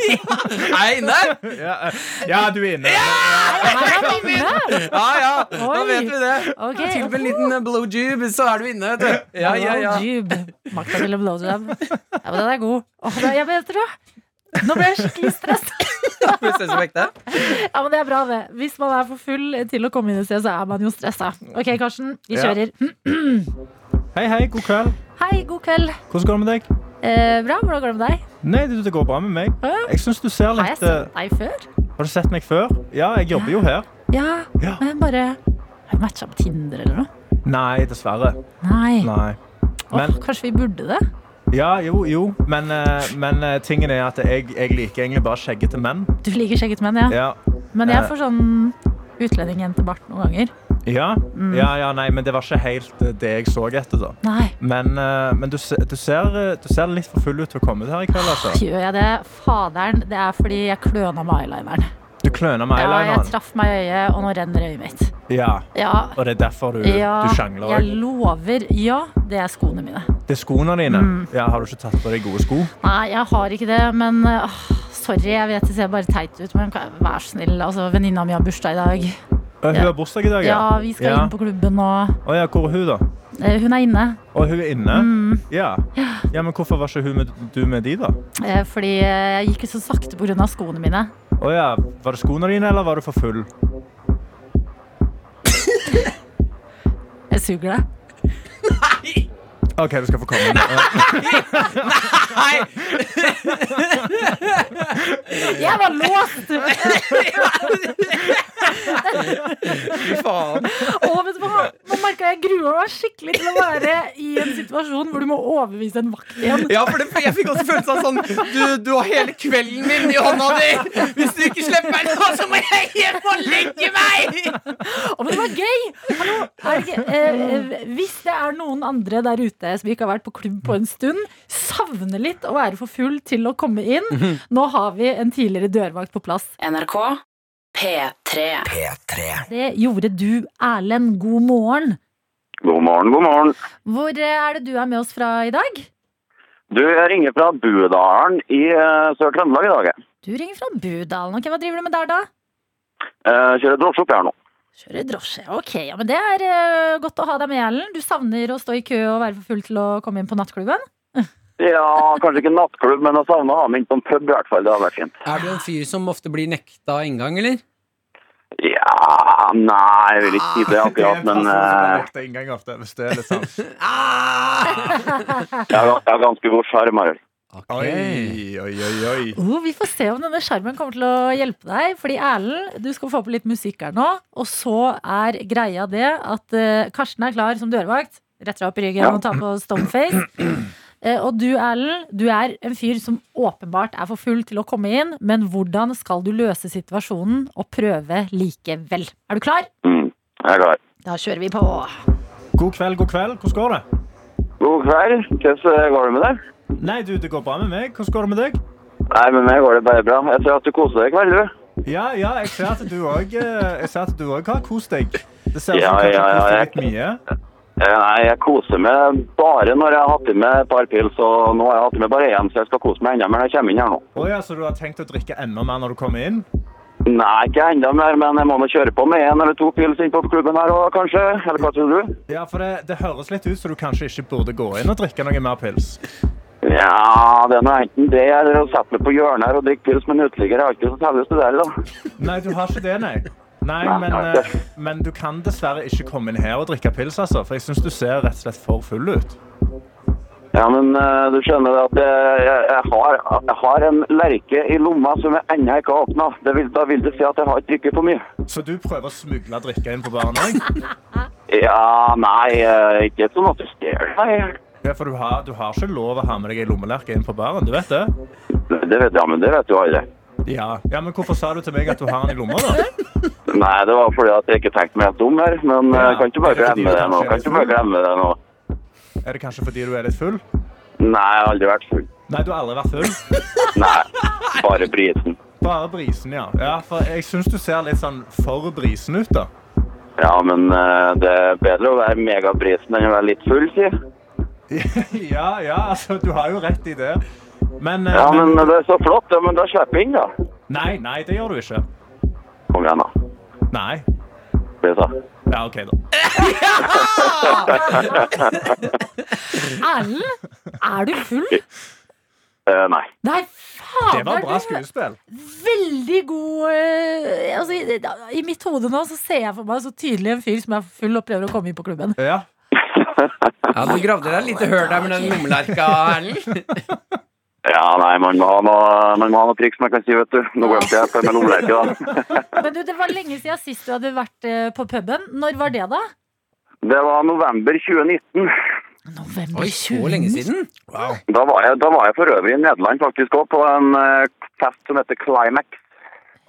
Speaker 7: [laughs]
Speaker 4: eh, Nei, nei!
Speaker 7: Ja, eh, ja du er inne.
Speaker 2: Her er vi inne!
Speaker 4: Ja, ja, nå
Speaker 2: Oi.
Speaker 4: vet vi det.
Speaker 2: Ok.
Speaker 4: Til med en liten eh, blowjube, så er du inne, vet du. Ja, ja, ja.
Speaker 2: Blowjob. Makta til å blowjob. Ja, men den er god. Åh, det- jeg vet det. Nå ble jeg skikkelig stressa.
Speaker 4: Får jeg se som ekte?
Speaker 2: Ja, men det er bra, det. Hvis man er for full til å komme inn et sted, så er man jo stressa. Ok, Karsten, vi
Speaker 7: Ja.
Speaker 2: kjører. Hm.
Speaker 7: Hei, hei, god kveld.
Speaker 2: Hei, god kveld.
Speaker 7: Hvordan går det med deg?
Speaker 2: Eh, bra, hvordan går det med deg?
Speaker 7: Nei, du, det går bra med meg.
Speaker 2: Hæ?
Speaker 7: Jeg syns du ser
Speaker 2: Har jeg
Speaker 7: litt eh,
Speaker 2: sett deg før?
Speaker 7: Har du sett meg før? Ja, jeg jobber jo her.
Speaker 2: Ja,
Speaker 7: Ja.
Speaker 2: men bare Har vi matcha på Tinder eller noe?
Speaker 7: Nei, dessverre.
Speaker 2: Nei.
Speaker 7: Nei.
Speaker 2: Åh,
Speaker 7: Men
Speaker 2: kanskje vi burde det?
Speaker 7: Ja, jo, jo. Men, eh, men eh, tingen er at jeg, jeg liker egentlig bare skjeggete menn.
Speaker 2: Du liker skjegget menn, ja.
Speaker 7: Ja.
Speaker 2: Men jeg
Speaker 7: Eh.
Speaker 2: får sånn utlendingjentebart noen ganger.
Speaker 7: Ja.
Speaker 2: Mm.
Speaker 7: ja, ja, nei, men det var ikke helt eh, det jeg så etter, da.
Speaker 2: Nei,
Speaker 7: Men, eh, men du, se- du, ser, eh, du ser litt for full ut til å komme ut her i kveld, altså.
Speaker 2: gjør jeg det? Faderen, det er fordi jeg kløna med eyelineren.
Speaker 7: Du kløner med
Speaker 2: Ja, jeg
Speaker 7: eyelineren.
Speaker 2: traff meg i øyet, og nå renner øyet mitt.
Speaker 7: Ja,
Speaker 2: Ja,
Speaker 7: og det er derfor du,
Speaker 2: ja
Speaker 7: du sjangler.
Speaker 2: jeg
Speaker 7: også.
Speaker 2: lover. Ja, det er skoene mine.
Speaker 7: Det er skoene dine.
Speaker 2: Mm.
Speaker 7: Ja, har du ikke tatt på deg gode sko? Eh,
Speaker 2: Nei, jeg har ikke det, men åh, sorry, jeg vet det ser bare teit ut, men kan- vær så snill. Altså, Venninna mi har bursdag i dag.
Speaker 7: Å, Hun
Speaker 2: Ja.
Speaker 7: har bursdag i dag, ja.
Speaker 2: Ja, vi skal
Speaker 7: ja.
Speaker 2: inn på klubben, og
Speaker 7: Å, ja, hvor er hun, da?
Speaker 2: eh, hun er inne.
Speaker 7: Og hun er inne?
Speaker 2: Mm.
Speaker 7: Ja. ja. Men hvorfor var ikke hun med, du med de, da?
Speaker 2: eh, Fordi eh, jeg gikk jo så sakte pga. skoene mine.
Speaker 7: Å ja, Var det skoene dine, eller var du for full?
Speaker 2: Jeg suger det.
Speaker 7: OK, du skal få komme. inn.
Speaker 2: Jeg var låst!
Speaker 4: Fy faen.
Speaker 2: Å, vet du hva? Nå merka jeg gruer meg skikkelig til å være i en situasjon hvor du må overbevise en vakt igjen.
Speaker 4: Ja, for det, jeg fikk også følelsen av sånn du, du har hele kvelden min i hånda di! Hvis du ikke slipper meg nå, så må jeg hjem og legge meg!
Speaker 2: Å, men det var gøy! Hallo, er det ikke, eh, eh, hvis det er noen andre der ute som ikke har vært på klubb på en stund, savner litt å være for full til å komme inn. Nå har vi en tidligere dørvakt på plass.
Speaker 9: NRK P3.
Speaker 5: P3.
Speaker 2: Det gjorde du, Erlend. God morgen.
Speaker 8: God morgen, god morgen.
Speaker 2: Hvor eh, er det du er med oss fra i dag?
Speaker 8: Du, jeg ringer fra Budalen i eh, Sør-Trøndelag i dag. jeg.
Speaker 2: Du ringer fra Budalen. Ok, Hva driver du med der, da?
Speaker 8: Eh, kjører drosje opp her nå.
Speaker 2: Kjører drosje. Ok, ja, men det er eh, godt å ha deg med, Erlend. Du savner å stå i kø og være for full til å komme inn på nattklubben?
Speaker 8: Ja, kanskje ikke nattklubb, men jeg savner å ha meg inn på en pub i hvert fall. Det hadde vært fint.
Speaker 4: Er du en fyr som ofte blir nekta inngang, eller?
Speaker 8: Ja, nei, jeg vil ikke si det akkurat, men eh,
Speaker 7: Det er en gang ofte, hvis det er litt sånn. sant.
Speaker 8: [laughs] jeg har, jeg har ganske god sjarm. jeg.
Speaker 7: Oi, oi, oi, oi.
Speaker 2: Oh, vi får se om denne skjermen kommer til å hjelpe deg. Fordi Erlend, du skal få på litt musikk her nå. Og så er greia det at eh, Karsten er klar som dørvakt. Retter deg opp i ryggen
Speaker 8: Ja.
Speaker 2: og tar på
Speaker 7: [clears throat]
Speaker 2: stoneface. Eh, og du, Erlend, du er en fyr som åpenbart er for full til å komme inn. Men hvordan skal du løse situasjonen og prøve likevel? Er du klar?
Speaker 8: Mm, jeg er klar.
Speaker 2: Da kjører vi på.
Speaker 7: God kveld, god kveld. Hvordan går det?
Speaker 8: God kveld. Hvordan går det med deg?
Speaker 7: Nei, du, det går bra med meg. Hvordan går det med deg?
Speaker 8: Nei, med meg går det bare bra. Jeg ser at du koser deg i kveld, du.
Speaker 7: Ja, ja, jeg ser at du eh, òg har kost deg. Det ser ut
Speaker 8: Ja,
Speaker 7: som du
Speaker 8: ja,
Speaker 7: har kost deg
Speaker 8: ja,
Speaker 7: litt mye.
Speaker 8: Eh, Nei, jeg koser meg bare når jeg har hatt i meg et par pils, og nå har jeg hatt i meg bare én, så jeg skal kose meg enda mer når jeg kommer inn her nå.
Speaker 7: Å ja, så du har tenkt å drikke enda mer når du kommer inn?
Speaker 8: Nei, ikke enda mer, men jeg må nå kjøre på med én eller to pils inn på klubben her òg, kanskje. Eller hva tror du?
Speaker 7: Ja, for det, det høres litt ut som du kanskje ikke burde gå inn og drikke noe mer pils.
Speaker 8: Ja, det er nå enten det eller å sette meg på hjørnet her og drikke pils med en uteligger. Jeg har ikke så særlig å studere, da.
Speaker 7: Nei, du har ikke det, nei. Nei,
Speaker 8: Nei,
Speaker 7: men,
Speaker 8: jeg har
Speaker 7: eh, men du kan dessverre ikke komme inn her og drikke pils, altså. For jeg syns du ser rett og slett for full ut.
Speaker 8: Ja, men eh, du skjønner at jeg, jeg, jeg, har, jeg har en lerke i lomma som jeg ennå ikke har åpna. Da vil det si at jeg har ikke drukket for mye.
Speaker 7: Så du prøver å smugle drikke inn på baren
Speaker 8: [laughs]
Speaker 7: òg?
Speaker 8: Ja, nei, eh, ikke sånn at du stjeler. Nei,
Speaker 7: Ja, for du har, du har ikke lov å ha med deg ei lommelerke inn på baren, du vet det?
Speaker 8: det vet, ja, men det vet du aldri.
Speaker 7: Ja. ja, men hvorfor sa du til meg at du har den i lomma,
Speaker 8: [laughs]
Speaker 7: da?
Speaker 8: Nei, det var fordi at jeg ikke tenkte meg helt om her, men eh,
Speaker 7: Ja,
Speaker 8: kan ikke bare
Speaker 7: det er fordi
Speaker 8: glemme
Speaker 7: du
Speaker 8: det nå.
Speaker 7: kanskje
Speaker 8: Kan
Speaker 7: er
Speaker 8: ikke bare
Speaker 7: full.
Speaker 8: glemme det nå.
Speaker 7: Er det kanskje fordi du er litt full?
Speaker 8: Nei, jeg har aldri vært full.
Speaker 7: Nei, du har aldri vært full.
Speaker 8: Nei, bare brisen.
Speaker 7: Bare brisen, ja. Ja, For jeg syns du ser litt sånn for brisen ut, da. [laughs]
Speaker 8: Ja, men eh, det er bedre å være megabrisen enn å være litt full, si.
Speaker 7: Ja, ja, altså, du har jo rett i det. Men, eh,
Speaker 8: Ja, men det er så flott. Ja, men da slipper jeg inn, da.
Speaker 7: Nei, nei, det gjør du ikke.
Speaker 8: Kom igjen, da.
Speaker 7: Nei.
Speaker 8: Bli så.
Speaker 7: Ja, OK, da.
Speaker 2: Erlend, er du full?
Speaker 8: Eh, nei.
Speaker 2: Nei, fader!
Speaker 7: Det var bra
Speaker 2: du-
Speaker 7: skuespill.
Speaker 2: veldig god eh, altså, i, I mitt hode nå så ser jeg for meg så tydelig en fyr som er full og prøver å komme inn på klubben.
Speaker 7: Ja.
Speaker 4: Ja, Du gravde deg et lite høl der med den lommelerka, Erlend.
Speaker 8: Ja, nei, man må ha noe, man må ha noe triks man kan si, vet du. Nå glemte jeg på en lommelerke, da.
Speaker 2: Men du, det var lenge siden sist du hadde vært eh, på puben. Når var det, da?
Speaker 8: Det var november 2019.
Speaker 2: November
Speaker 4: Oi, så lenge siden? Wow.
Speaker 8: Da var jeg, da var jeg for øvrig i Nederland faktisk òg, på en eh, fest som heter Climax.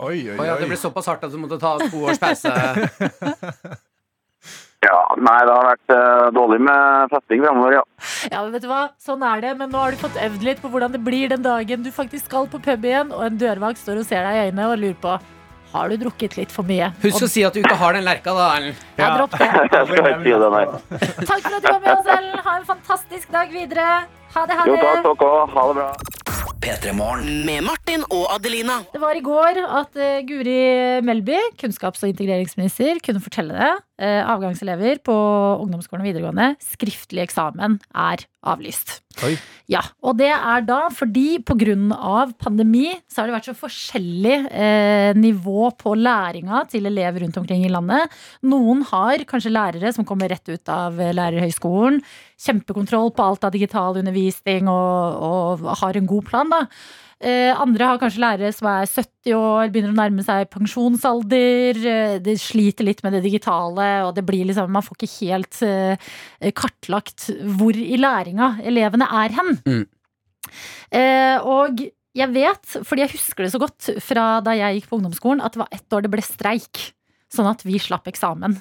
Speaker 7: Oi, oi,
Speaker 4: Å ja, det
Speaker 7: oi.
Speaker 4: ble såpass hardt at du måtte ta to års pause.
Speaker 8: Ja, nei, det har vært eh, dårlig med festing fremover, ja.
Speaker 2: Ja, men vet du hva? Sånn er det, men nå har du fått øvd litt på hvordan det blir den dagen du faktisk skal på pub igjen, og en dørvakt står og ser deg i øynene og lurer på har du drukket litt for mye.
Speaker 4: [laughs] Husk å si at du ikke har den lerka, da, Erlend.
Speaker 2: Og ja, dropp det.
Speaker 8: Jeg skal ikke si det, nei.
Speaker 2: Takk for at du var med oss, Ellen. Ha en fantastisk dag videre. Ha det, ha
Speaker 8: Jo,
Speaker 2: det.
Speaker 8: takk, takk òg. Ha det bra.
Speaker 5: P3 Morgen.
Speaker 9: Med Martin og Adelina.
Speaker 2: Det var i går at eh, Guri Melby, kunnskaps- og integreringsminister, kunne fortelle det. Eh, avgangselever på ungdomsskolen og videregående, skriftlig eksamen er avlyst.
Speaker 7: Oi.
Speaker 2: Ja, og det er da fordi pga. pandemi så har det vært så forskjellig eh, nivå på læringa til elever rundt omkring i landet. Noen har kanskje lærere som kommer rett ut av eh, lærerhøyskolen. Kjempekontroll på alt av digital undervisning og, og har en god plan, da. Eh, andre har kanskje lærere som er 70 år, begynner å nærme seg pensjonsalder. Eh, de sliter litt med det digitale, og det blir liksom, man får ikke helt eh, kartlagt hvor i læringa elevene er hen.
Speaker 4: Mm.
Speaker 2: Eh, og jeg vet, fordi jeg husker det så godt fra da jeg gikk på ungdomsskolen, at det var ett år det ble streik. Sånn at vi slapp eksamen.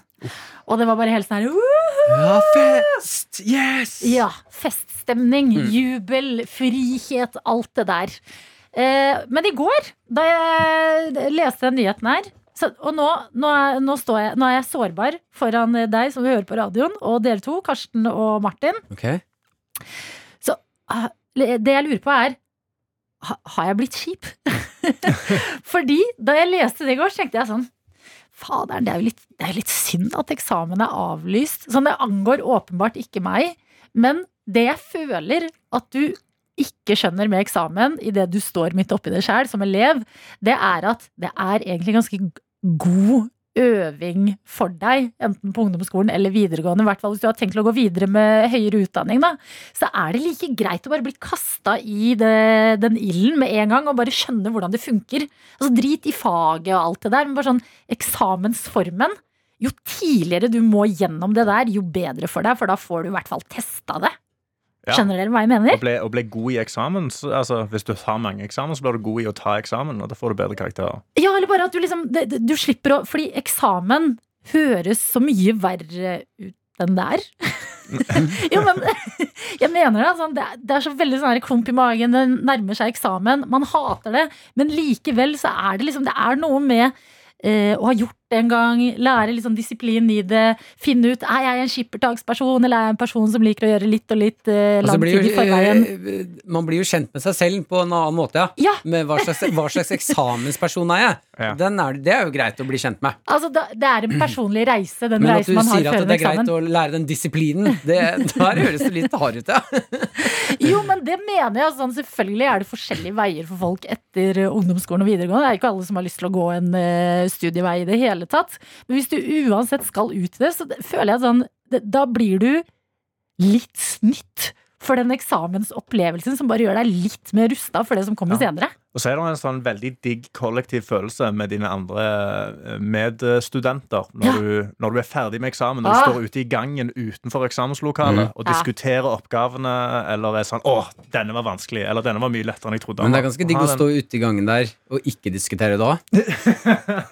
Speaker 2: Og det var bare helt sånn her «Uh,
Speaker 4: Ja, fest! Yes!
Speaker 2: ja, feststemning,
Speaker 4: Mm.
Speaker 2: jubel, frihet, alt det der. Eh, men i går, da jeg leste den nyheten her så, Og nå, nå, er, nå, står jeg, nå er jeg sårbar foran deg som hører på radioen, og dere to, Karsten og Martin.
Speaker 4: Ok.
Speaker 2: Ah, Det jeg lurer på, er ha- Har jeg blitt kjip? [laughs] Fordi da jeg leste det i går, så tenkte jeg sånn Faderen, det er jo litt, det er jo litt synd at eksamen er avlyst. Sånn, det angår åpenbart ikke meg. Men det jeg føler at du ikke skjønner med eksamen, i det du står midt oppi det sjæl som elev, det er at det er egentlig ganske g- god øving for deg, enten på ungdomsskolen eller videregående, i hvert fall hvis du har tenkt til å gå videre med høyere utdanning, da så er det like greit å bare bli kasta i det, den ilden med en gang og bare skjønne hvordan det funker. Altså Drit i faget og alt det der, men bare sånn eksamensformen. Jo tidligere du må gjennom det der, jo bedre for deg, for da får du i hvert fall testa det.
Speaker 7: Ja.
Speaker 2: Skjønner dere hva jeg
Speaker 7: Og
Speaker 2: mener?
Speaker 7: ble, og ble god i eksamen. Så, altså, hvis du tar mange eksamen, så blir du god i å ta eksamen, og da får du bedre karakterer.
Speaker 2: Ja, eller bare at du liksom det- det- Du slipper å Fordi eksamen høres så mye verre ut enn det er. [laughs] jo, men [laughs] jeg mener det. Sånn, det, er, det er så veldig sånn her klump i magen. Det nærmer seg eksamen. Man hater det. Men likevel så er det liksom Det er noe med eh, å ha gjort det en gang, lære liksom disiplin i det, finne ut er jeg en skippertaksperson eller er jeg en person som liker å gjøre litt og litt eh,
Speaker 4: Altså,
Speaker 2: lang
Speaker 4: blir
Speaker 2: tid i
Speaker 4: jo,
Speaker 2: forveien.
Speaker 4: eh, man blir jo kjent med seg selv på en annen måte, ja.
Speaker 2: Ja,
Speaker 4: Med hva slags, hva slags
Speaker 2: [laughs]
Speaker 4: eksamensperson er jeg?
Speaker 7: Ja.
Speaker 4: Den er, det er jo greit å bli kjent med.
Speaker 2: altså det, det er en personlig reise, den
Speaker 4: Men at
Speaker 2: reisen
Speaker 4: du
Speaker 2: man har
Speaker 4: sier
Speaker 2: før
Speaker 4: at
Speaker 2: en
Speaker 4: det er
Speaker 2: eksamen.
Speaker 4: greit å lære den disiplinen, det, der høres det litt hard ut, ja.
Speaker 2: Jo, men det mener jeg. Sånn, selvfølgelig er det forskjellige veier for folk etter eh, ungdomsskolen og videregående. Det er ikke alle som har lyst til å gå en eh, studievei i det hele tatt. Men hvis du uansett skal ut i det, så det, føler jeg sånn det, Da blir du litt snytt for den eksamensopplevelsen som bare gjør deg litt mer rusta for det som kommer
Speaker 7: Ja.
Speaker 2: senere.
Speaker 7: Og så er det en sånn veldig digg kollektiv følelse med dine andre eh, medstudenter når,
Speaker 2: Ja.
Speaker 7: du, når du er ferdig med eksamen, når
Speaker 2: Ah. Mm.
Speaker 7: du står ute i gangen utenfor eksamenslokalet og
Speaker 2: Ja.
Speaker 7: diskuterer oppgavene, eller er sånn 'Å, denne var vanskelig', eller 'denne var mye lettere enn jeg trodde'.
Speaker 4: Men
Speaker 7: den
Speaker 4: det er
Speaker 7: var».
Speaker 4: ganske digg
Speaker 7: Ha
Speaker 4: å
Speaker 7: den-
Speaker 4: stå ute i gangen der og ikke diskutere
Speaker 7: [laughs]
Speaker 4: da.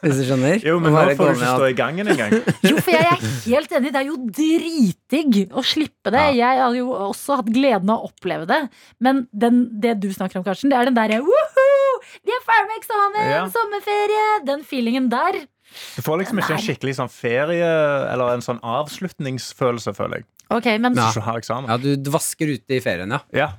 Speaker 4: Hvis du skjønner?
Speaker 7: Jo, men
Speaker 4: Og
Speaker 7: nå
Speaker 4: bare gå
Speaker 7: får du ikke
Speaker 4: med
Speaker 7: stå
Speaker 4: at-
Speaker 7: i gangen engang.
Speaker 2: Jo, for jeg er helt enig. Det er jo dritdigg å slippe det. Jeg har jo også hatt gleden av å oppleve det. Men den, det du snakker om, Karsten, det er den derre «Woohoo! De er ferdig med eksamen!
Speaker 7: Ja.
Speaker 2: Sommerferie! Den feelingen der.
Speaker 7: Du får liksom ikke en skikkelig sånn ferie eller en sånn avslutningsfølelse, føler jeg,
Speaker 2: Ok, men
Speaker 4: Ja.
Speaker 7: hvis du ikke har eksamen.
Speaker 4: Ja, du dvasker ute i ferien, ja.
Speaker 7: Ja.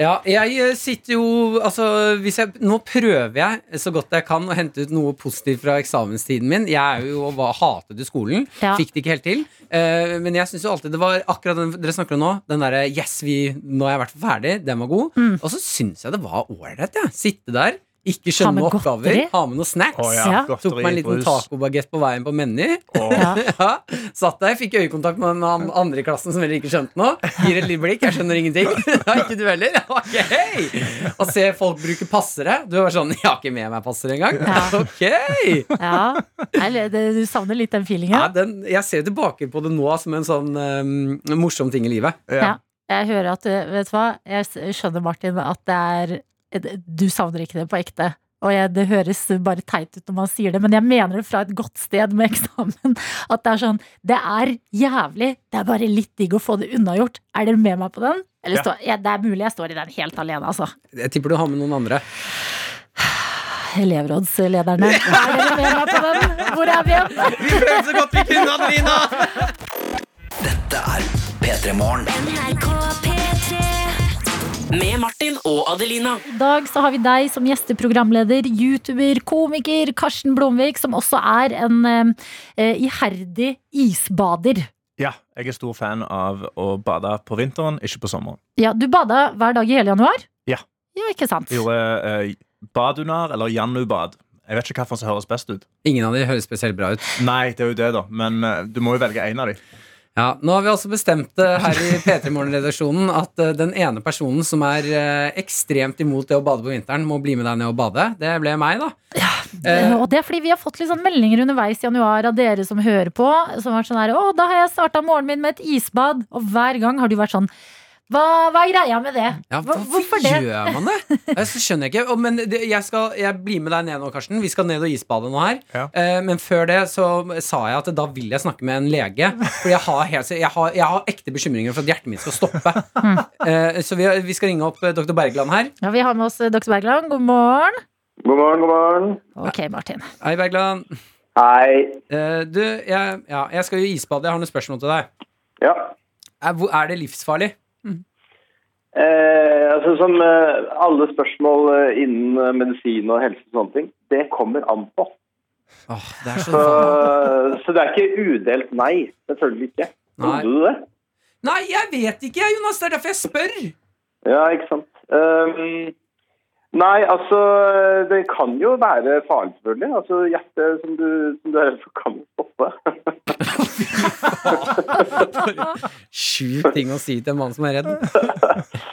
Speaker 4: Ja, jeg eh, sitter jo Altså, hvis jeg, nå prøver jeg så godt jeg kan å hente ut noe positivt fra eksamenstiden min. Jeg er jo var, hatet jo skolen.
Speaker 2: Ja.
Speaker 4: Fikk det ikke helt til. Eh, men jeg syns jo alltid det var akkurat den dere snakker om nå. Den derre 'yes, vi, nå er jeg i hvert fall ferdig', den var god. Og så syns jeg det var ålreit, jeg. Sitte der, ikke
Speaker 2: Mm.
Speaker 4: skjønne
Speaker 2: med
Speaker 4: oppgaver,
Speaker 2: godteri.
Speaker 4: ha med noe snacks.
Speaker 7: Å
Speaker 2: Ja.
Speaker 7: ja.
Speaker 4: Tok meg en
Speaker 7: Godteri,
Speaker 4: liten
Speaker 7: brus.
Speaker 4: tacobagett på veien på Meny.
Speaker 7: Å,
Speaker 2: Ja.
Speaker 4: [laughs] Ja, satt der, fikk øyekontakt med han andre i klassen som heller ikke skjønte noe. Gir et lite blikk, jeg skjønner ingenting. [laughs] Ja, ikke du heller? Ja, Ok, hei! Og se folk bruke passere. Du er bare sånn, jeg har ikke med meg passere engang.
Speaker 2: Ja.
Speaker 4: Ok!
Speaker 2: Ja. Eller, det, du savner litt den feelingen?
Speaker 4: Ja, den, jeg ser tilbake på det nå som en sånn eh, ehm, morsom ting i livet.
Speaker 7: Ja.
Speaker 2: Jeg hører at, eh, vet du hva, jeg s- skjønner Martin at det er Du savner ikke det på ekte. Og jeg, det høres bare teit ut når man sier det, men jeg mener det fra et godt sted med [laughs] eksamen. At det er sånn Det er jævlig, det er bare litt digg å få det unnagjort. Er dere med meg på den? Eller
Speaker 7: Ja.
Speaker 2: står- ja, det er mulig jeg står i den helt alene, altså.
Speaker 4: Jeg tipper du har med noen andre.
Speaker 2: Elevrådslederne. Er dere med meg på den? Hvor er vi igjen?
Speaker 4: Vi prøvde så godt vi kunne, Adelina!
Speaker 5: Dette er P3 Morgen.
Speaker 9: Med Martin og Adelina.
Speaker 2: I dag så har vi deg som gjesteprogramleder, youtuber, komiker Karsten Blomvik, som også er en eh, iherdig isbader.
Speaker 7: Ja, jeg er stor fan av å bade på vinteren, ikke på sommeren.
Speaker 2: Ja, Du bada hver dag i hele januar?
Speaker 7: Ja.
Speaker 2: Ja, ikke sant?
Speaker 7: Jeg gjorde eh, badunar, eller janubad. Jeg vet ikke hvilken som høres best ut.
Speaker 4: Ingen av de høres spesielt bra ut.
Speaker 7: Nei, det er jo det, da. Men eh, du må jo velge en av dem.
Speaker 4: Ja, Nå har vi også bestemt eh, her i P3 Morgen-redaksjonen at eh, den ene personen som er eh, ekstremt imot det å bade på vinteren, må bli med deg ned og bade. Det ble meg, da.
Speaker 2: Eh,
Speaker 4: Eh,
Speaker 2: Og det er fordi vi har fått litt sånn meldinger underveis i januar av dere som hører på. Som har vært sånn her, å, da har jeg starta morgenen min med et isbad. Og hver gang har du vært sånn hva, hva er greia med det?
Speaker 4: Ja,
Speaker 2: Hva-
Speaker 4: hvorfor, gjør man det? Jeg så skjønner jeg ikke. Å, men det, jeg, skal, jeg blir med deg ned nå, Karsten. Vi skal ned og isbade nå her.
Speaker 7: Ja.
Speaker 4: Eh, men før det så sa jeg at da vil jeg snakke med en lege. For jeg har, helt, jeg har, jeg har ekte bekymringer for at hjertet mitt skal stoppe. Eh, så vi, vi skal ringe opp eh, dr. Bergland her.
Speaker 2: Ja, Vi har med oss eh, dr. Bergland. God morgen.
Speaker 8: God morgen, god morgen.
Speaker 2: Ok, Martin. [laughs]
Speaker 4: Hei, Bergland.
Speaker 8: Hei.
Speaker 4: Eh, du, jeg, ja, jeg skal jo isbade. Jeg har noen spørsmål til deg.
Speaker 8: Ja.
Speaker 4: Er, hvor- er det livsfarlig?
Speaker 8: Eh, altså Som eh, alle spørsmål eh, innen eh, medisin og helse og sånne ting, det kommer an på.
Speaker 4: Åh, det er [laughs]
Speaker 8: Så,
Speaker 4: så
Speaker 8: så det er ikke udelt nei. Selvfølgelig ikke.
Speaker 4: Nei.
Speaker 8: Trodde du det?
Speaker 4: Nei, jeg vet ikke, jeg, Jonas. Det er derfor jeg spør.
Speaker 8: Ja, ikke sant. Ehm, nei, altså Det kan jo være farlig, selvfølgelig. Altså Hjertet som du, som du er redd for, kan jo stoppe. [laughs]
Speaker 4: Sjukt ting å si til en mann som er redd. [laughs]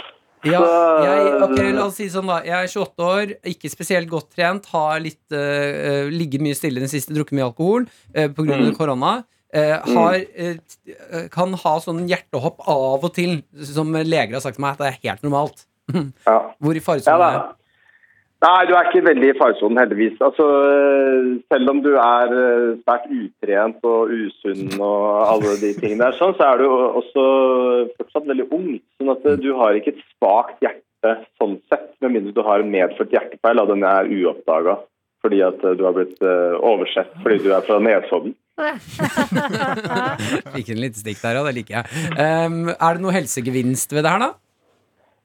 Speaker 4: Ja,
Speaker 8: Så-
Speaker 4: jeg, [laughs] ok, La oss si det sånn, da. Jeg er 28 år, ikke spesielt godt trent. Har litt, eh, eh, ligget mye stille den siste, drukket mye alkohol eh, på grunn pga. av korona. Eh, har, eh, t- eh, kan ha sånn hjertehopp av og til, som leger har sagt til meg at det er helt normalt.
Speaker 8: Ja.
Speaker 4: Hvor i
Speaker 8: Ja
Speaker 4: faresonen
Speaker 8: da.
Speaker 4: er jeg?
Speaker 8: Nei, du er ikke veldig i faresonen, heldigvis. Altså, øh, selv om du er øh, svært utrent og usunn og alle de tingene der, sånn, så er du jo også fortsatt veldig ung. Sånn at øh, du har ikke et svakt hjerte sånn sett, med mindre du har en medført hjertefeil, og den er uoppdaga fordi at øh, du har blitt øh, oversett fordi du er fra Nesodden.
Speaker 4: [laughs] Fikk en liten stikk der, ja. Det liker jeg. Ehm, er det noe helsegevinst ved det her, da?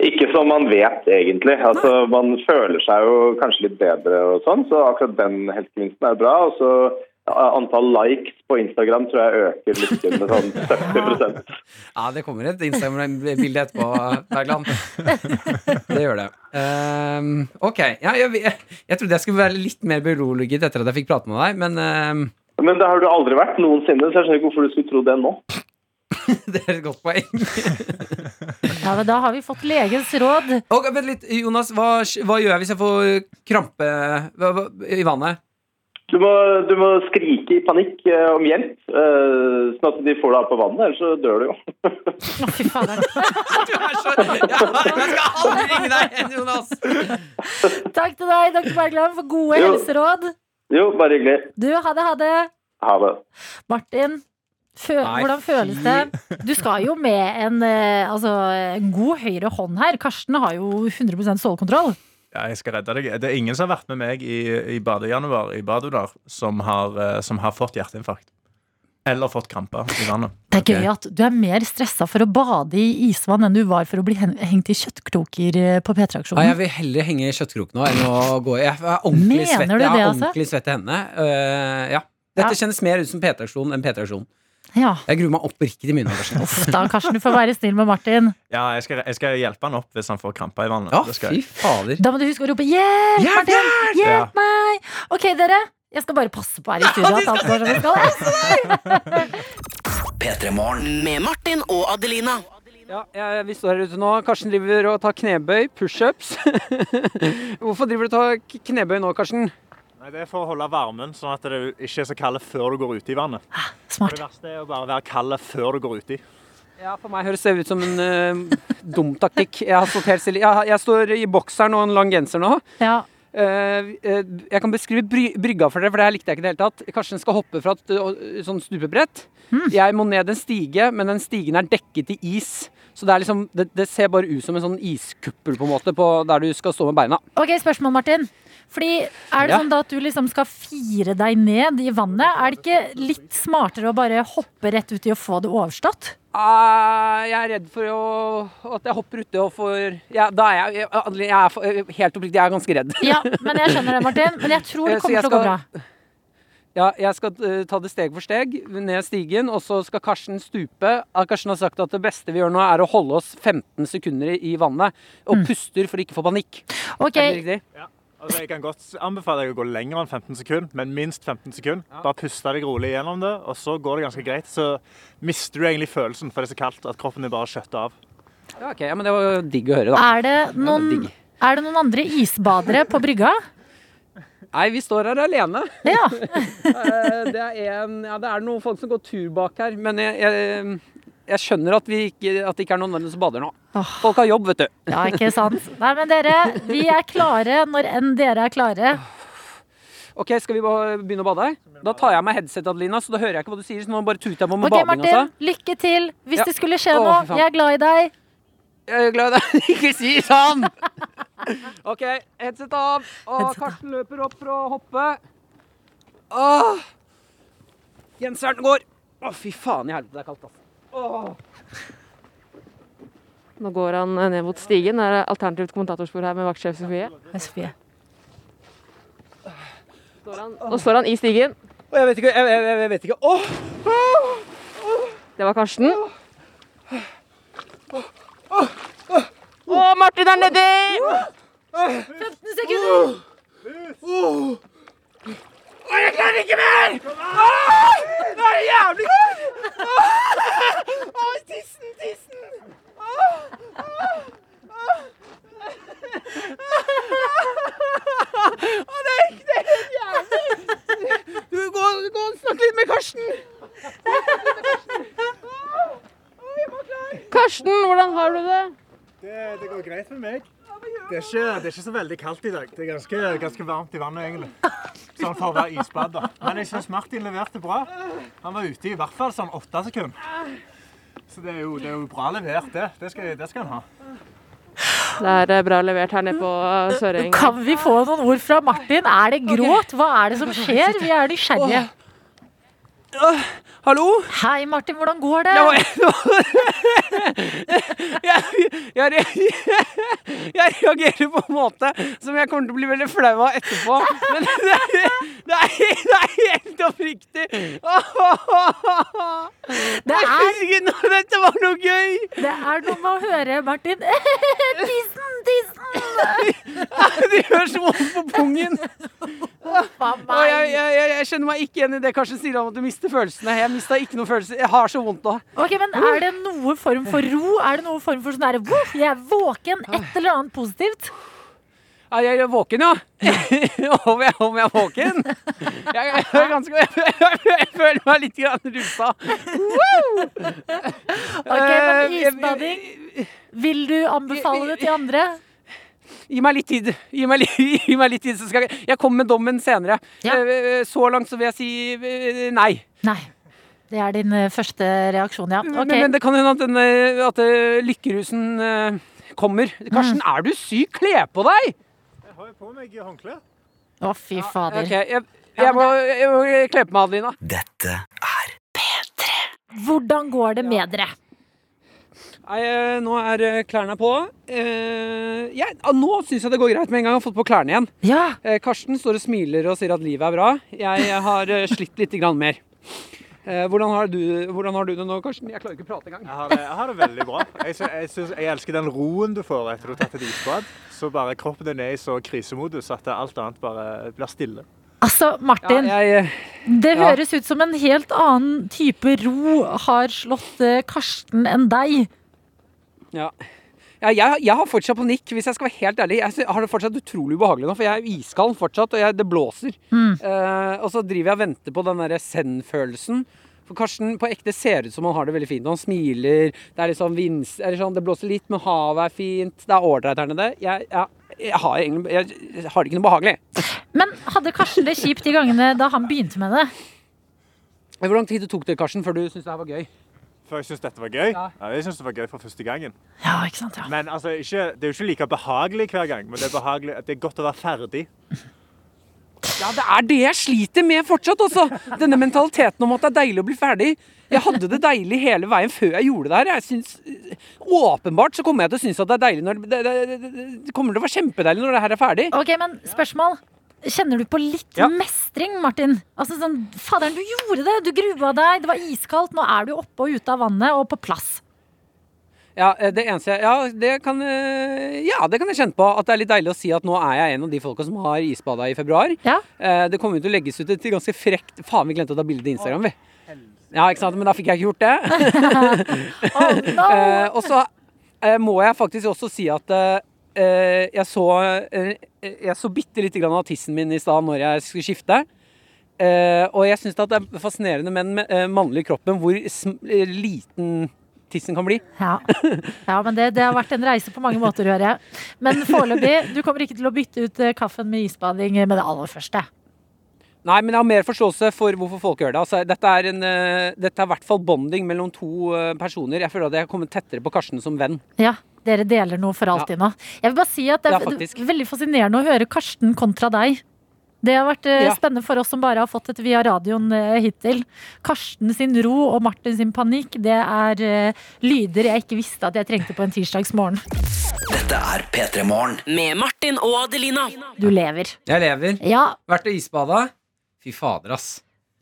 Speaker 8: Ikke som man vet, egentlig. Altså, man føler seg jo kanskje litt bedre og sånn, så akkurat den helsegevinsten er bra. Og så ja, antall likes på Instagram tror jeg øker lykken med sånn 70 [laughs]
Speaker 4: Ja, det kommer et Instagram-bilde etterpå, Bergland. Det gjør det. Ehm, ok. Ja, jeg, jeg, jeg trodde jeg skulle være litt mer beroliget etter at jeg fikk prate med deg, men ehm, [laughs]
Speaker 8: Men det har du aldri vært noensinne, så jeg skjønner ikke hvorfor du skulle tro det nå.
Speaker 4: det er et godt poeng.
Speaker 2: Ja, men Da har vi fått legens råd.
Speaker 4: Ok, Vent litt, Jonas. Hva, hva gjør jeg hvis jeg får krampe hva, hva, i vannet? [laughs]
Speaker 8: Du må, du må skrike i panikk eh, om hjelp, eh, sånn at de får deg opp på vannet, ellers så dør du jo.
Speaker 2: Å, fy fader.
Speaker 4: Du er så Jeg, jeg skal aldri ringe deg igjen, Jonas!
Speaker 2: Takk til deg, dr. Bergland, for gode
Speaker 8: Jo.
Speaker 2: helseråd.
Speaker 8: Jo, bare hyggelig.
Speaker 2: Du, ha det, ha det.
Speaker 8: Ha det.
Speaker 2: Martin, fø
Speaker 4: Nei,
Speaker 2: hvordan føles det? Du skal jo med en, eh, altså, en god høyre hånd her. Karsten har jo 100 stålkontroll.
Speaker 7: Ja, jeg skal redde deg. Det er ingen som har vært med meg i, i badejanuar i badunar, som har, eh, som har fått hjerteinfarkt. Eller fått kramper i vannet.
Speaker 2: Det er
Speaker 6: Ok.
Speaker 2: gøy at du er mer stressa for å bade i isvann enn du var for å bli hen hengt i kjøttkroker eh, på
Speaker 4: Ja, jeg
Speaker 2: P3-aksjonen.
Speaker 4: vil heller henge i kjøttkroken nå enn å gå Jeg er ordentlig
Speaker 2: Mener
Speaker 4: svett
Speaker 2: du
Speaker 4: Jeg har
Speaker 2: det, altså?
Speaker 4: ordentlig svett i hendene. Eh, ja. Dette kjennes mer ut som PT-aksjon enn PT-aksjon.
Speaker 2: Ja.
Speaker 4: Jeg gruer meg oppriktig mye nå.
Speaker 7: [laughs]
Speaker 4: Karsten.
Speaker 2: Uff da, Karsten, du får være snill med Martin.
Speaker 7: Ja, jeg skal, jeg skal hjelpe han opp hvis han får kramper i vannet.
Speaker 4: Ja,
Speaker 7: Det skal
Speaker 4: fy
Speaker 7: jeg.
Speaker 4: fader.
Speaker 2: Da må du huske å rope 'hjelp,
Speaker 4: Hjelp,
Speaker 2: Martin! Hjelp
Speaker 7: Ja.
Speaker 2: meg!' Ok, dere. Jeg skal bare passe på her i studio at alt går som det skal.
Speaker 5: P3 Morgen.
Speaker 9: Med Martin og Adelina.
Speaker 10: Ja, jeg, vi står her ute nå. Karsten driver og tar knebøy, pushups. [laughs] Hvorfor driver du og tar k- knebøy nå, Karsten?
Speaker 11: Nei, Det er for å holde varmen, sånn at det ikke er så kaldt før du går uti vannet.
Speaker 2: Smart.
Speaker 11: Det verste er å bare være kald før du går uti.
Speaker 4: Ja, for meg høres det ut som en eh, dum taktikk. Jeg, har stått helt stille. Jeg, har- jeg står i bokseren og en lang genser nå.
Speaker 2: Ja.
Speaker 4: Eh, eh, jeg kan beskrive bry brygga for dere, for det her likte jeg ikke i det hele tatt. Karsten skal hoppe fra et eh, sånn stupebrett. Jeg må ned en stige, men den stigen er dekket i is. Så det, er liksom, det, det ser bare ut som en sånn iskuppel på en måte, på der du skal stå med beina.
Speaker 2: Ok, spørsmål, Martin. Fordi Er det
Speaker 4: Ja.
Speaker 2: sånn da at du liksom skal fire deg ned i vannet? Er det ikke litt smartere å bare hoppe rett uti og få det overstått?
Speaker 4: Eh, jeg er redd for å, at jeg hopper uti og får ja, Da er jeg, jeg, jeg er for, eh, helt oppriktig, jeg er ganske redd.
Speaker 2: Ja, men jeg skjønner det, Martin. Men jeg tror det
Speaker 4: Eh, så
Speaker 2: kommer
Speaker 4: jeg
Speaker 2: til å gå bra.
Speaker 4: skal- Ja, jeg skal eh, ta det steg for steg ned stigen, og så skal Karsten stupe. Ah, Karsten har sagt at det beste vi gjør nå, er å holde oss 15 sekunder i vannet og puster for å ikke få panikk. Er det riktig?
Speaker 7: Ja, altså, jeg kan godt anbefale deg å gå lenger enn 15 sekunder, men minst 15 sekunder. Bare puste deg rolig gjennom det, og så går det ganske greit. Så mister du egentlig følelsen, for det er så kaldt at kroppen din bare skjøtter av.
Speaker 4: Ja, ok, ja, men det var jo digg å høre, da.
Speaker 2: Er det noen, er det noen andre isbadere på brygga?
Speaker 4: Nei, vi står her alene.
Speaker 2: Ja.
Speaker 4: Eh, det, er en, ja, det er noen folk som går tur bak her, men jeg, jeg, jeg skjønner at, vi ikke, at det ikke er noen andre som bader nå. Folk har jobb, vet du.
Speaker 2: Ja, ikke sant? Nei, men dere, vi er klare når enn dere er klare.
Speaker 4: Ok, Skal vi bare begynne å bade? Da tar jeg av meg headsetet, Adelina, så da hører jeg ikke hva du sier. Så nå bare tuter jeg på med
Speaker 2: Ok,
Speaker 4: bading altså.
Speaker 2: Martin,
Speaker 4: også.
Speaker 2: lykke til. Hvis
Speaker 4: Ja.
Speaker 2: det skulle skje
Speaker 4: Å,
Speaker 2: noe,
Speaker 4: fy faen.
Speaker 2: jeg er glad i deg.
Speaker 4: Jeg er glad i deg. Ikke si sånn! OK, headset av. Og Karsten løper opp for å hoppe. Åh. Genseren går. Å, fy faen i helvete, det er kaldt, altså. Åh.
Speaker 12: Nå går han eh, ned mot stigen. Det er alternativt kommentatorspor her med vaktsjef Sofie.
Speaker 2: Sofie.
Speaker 12: Nå står han i stigen.
Speaker 4: Å, jeg vet ikke, jeg, jeg, jeg vet ikke. Åh!
Speaker 12: Det var Karsten. Å, Martin er nedi!
Speaker 2: 15 sekunder!
Speaker 4: Å, jeg klarer ikke mer! Åh! Det er jævlig kaldt! Åh! Åh, tissen, tissen! Åh! Åh! Åh, det er ikke det er helt jævlig! Du, gå, gå og snakk litt med Karsten!
Speaker 12: Karsten, hvordan har du det?
Speaker 7: Det, går greit med meg. Det er, ikke, det er ikke så veldig kaldt i dag. Det er ganske, ganske varmt i vannet, egentlig. Sånn for å være isbad, da. Men jeg syns Martin leverte bra. Han var ute i hvert fall sånn åtte sekunder. Så det er jo, det er jo bra levert, det. Det skal, det skal han ha.
Speaker 12: Det er eh, bra levert her nede på eh, Søreng.
Speaker 2: Kan vi få noen ord fra Martin? Er det gråt? Hva er det som skjer? Vi er nysgjerrige.
Speaker 4: Hallo?
Speaker 2: Hei, Martin. Hvordan går det?
Speaker 4: [laughs] jeg, re- [laughs] jeg reagerer på en måte som jeg kommer til å bli veldig flau av etterpå. Men [laughs] det er, det er, det er helt oppriktig.
Speaker 2: Det
Speaker 4: Jeg husker ikke når dette var noe gøy.
Speaker 2: Det er noe med å høre, Martin. [laughs] Tissen, tissen!
Speaker 4: Det gjør så vondt på pungen. Og jeg, jeg, jeg, jeg kjenner meg ikke igjen i det Karsten sier om at du mister følelsene. Jeg mistet ikke noen følelser. Jeg har så vondt nå.
Speaker 2: Ok, men Er det noe form for ro? Er det noe form for sånn derre «Voff, Jeg er våken. Et eller annet positivt?
Speaker 4: Ja, jeg er våken, ja. [laughs] om, jeg, om jeg er våken? Jeg, jeg, er ganske, jeg, føler meg litt grann rusa. Wow!
Speaker 2: Ok, men
Speaker 4: Eh,
Speaker 2: Isbading, vil du anbefale det til andre?
Speaker 4: Gi meg litt [laughs] tid. Gi meg, li- gi meg litt tid, så skal jeg Jeg kommer med dommen senere. Eh, Så langt så vil jeg si eh, nei.
Speaker 2: Nei. Det er din eh, første reaksjon, ja.
Speaker 4: Men,
Speaker 2: Ok.
Speaker 4: men det kan hende at, den, eh, at eh, lykkerusen eh, kommer. Karsten, er du syk? Kle på deg!
Speaker 7: Jeg har jo på meg håndkle.
Speaker 2: Å, fy fader.
Speaker 4: Ok, jeg, jeg, må, jeg må kle på meg, Adelina.
Speaker 2: Hvordan går det med dere?
Speaker 4: Nei, eh, nå er eh, klærne på. Eh, jeg, ah, nå syns jeg det går greit med en gang jeg har fått på klærne igjen. Eh, Karsten står og smiler og sier at livet er bra. Jeg har eh, slitt litt grann mer. Eh, hvordan, har du, hvordan har du det nå, Karsten? Jeg klarer ikke å prate engang.
Speaker 7: Jeg har det, jeg har det veldig bra. Jeg, sy- jeg, syns- jeg elsker den roen du får etter du har tatt et isbad. Så bare kroppen din er i så krisemodus at alt annet bare blir stille.
Speaker 2: Altså, Martin.
Speaker 4: Ja,
Speaker 10: eh,
Speaker 4: jeg,
Speaker 2: Det
Speaker 7: ja.
Speaker 2: høres ut som en helt annen type ro har slått eh, Karsten enn deg.
Speaker 4: Ja. Ja, jeg, jeg har fortsatt panikk, hvis jeg skal være helt ærlig. Jeg sy- har det fortsatt utrolig ubehagelig nå, for jeg er iskald fortsatt, og jeg, det blåser.
Speaker 2: Mm.
Speaker 4: Eh, og så driver jeg og venter på den der send-følelsen.
Speaker 10: For Karsten på ekte ser ut som han har det veldig fint. og Han smiler, det er liksom vins, eller sånn, det blåser litt, men havet er fint. Det er ålreit her nede. Jeg, jeg, jeg, har egentlig, jeg har det ikke noe behagelig.
Speaker 2: Men hadde Karsten det kjipt de gangene da han begynte med det?
Speaker 10: Hvor lang tid tok det, Karsten, før du syntes det her var gøy?
Speaker 11: Før jeg syntes dette var gøy? Ja. jeg syntes det var gøy fra første gangen.
Speaker 2: Ja, ikke sant, ja.
Speaker 11: Men altså, ikke, det er jo ikke like behagelig hver gang, men det er, behagelig, det er godt å være ferdig.
Speaker 10: Ja, det er det jeg sliter med fortsatt, altså. Denne mentaliteten om at det er deilig å bli ferdig. Jeg hadde det deilig hele veien før jeg gjorde det her. Jeg syns, eh, åpenbart så kommer jeg til å synes at det er deilig når det, det, det, det kommer til å være kjempedeilig når det her er ferdig.
Speaker 2: Ok, men spørsmål. Kjenner du på litt mestring, Martin? Altså sånn, Faderen, du gjorde det! Du grua deg, det var iskaldt. Nå er du oppe og ute av vannet og på plass.
Speaker 10: Ja, eh, det eneste jeg, ja, det kan, eh, ja, det kan jeg kjenne på. At det er litt deilig å si at nå er jeg en av de folka som har isbada i februar. Eh, Det kommer jo til å legges ut et ganske frekt Faen, vi glemte å ta bilde til Instagram, vi. Ja, ikke sant? Men da fikk jeg ikke gjort det. Eh, Og så eh, må jeg faktisk også si at eh, jeg så eh, Jeg så bitte lite grann av tissen min i stad når jeg skulle skifte. Eh, og jeg syns det er fascinerende med den eh, mannlige kroppen hvor sm eh, liten tissen kan bli.
Speaker 2: Ja, ja men det, det har vært en reise på mange måter, hører jeg. Men foreløpig, du kommer ikke til å bytte ut eh, kaffen med isbading med det aller første.
Speaker 10: Nei, men jeg har mer forståelse for hvorfor folk gjør det. Altså, dette er en, eh, dette er i hvert fall bonding mellom to eh, personer. Jeg føler at jeg har kommet tettere på Karsten som venn.
Speaker 2: Ja, dere deler noe for alltid nå. Jeg vil bare si at det er
Speaker 10: Ja, faktisk.
Speaker 2: veldig fascinerende å høre Karsten kontra deg. Det har vært eh,
Speaker 10: Ja.
Speaker 2: spennende for oss som bare har fått dette via radioen eh, hittil. Karsten sin ro og Martin sin panikk, det er eh, lyder jeg ikke visste at jeg trengte på en tirsdagsmorgen.
Speaker 5: Dette er P3 Morgen.
Speaker 9: Med Martin og Adelina.
Speaker 2: Du lever.
Speaker 4: Jeg lever.
Speaker 2: Ja.
Speaker 4: Vært og isbada. Fy fader, ass.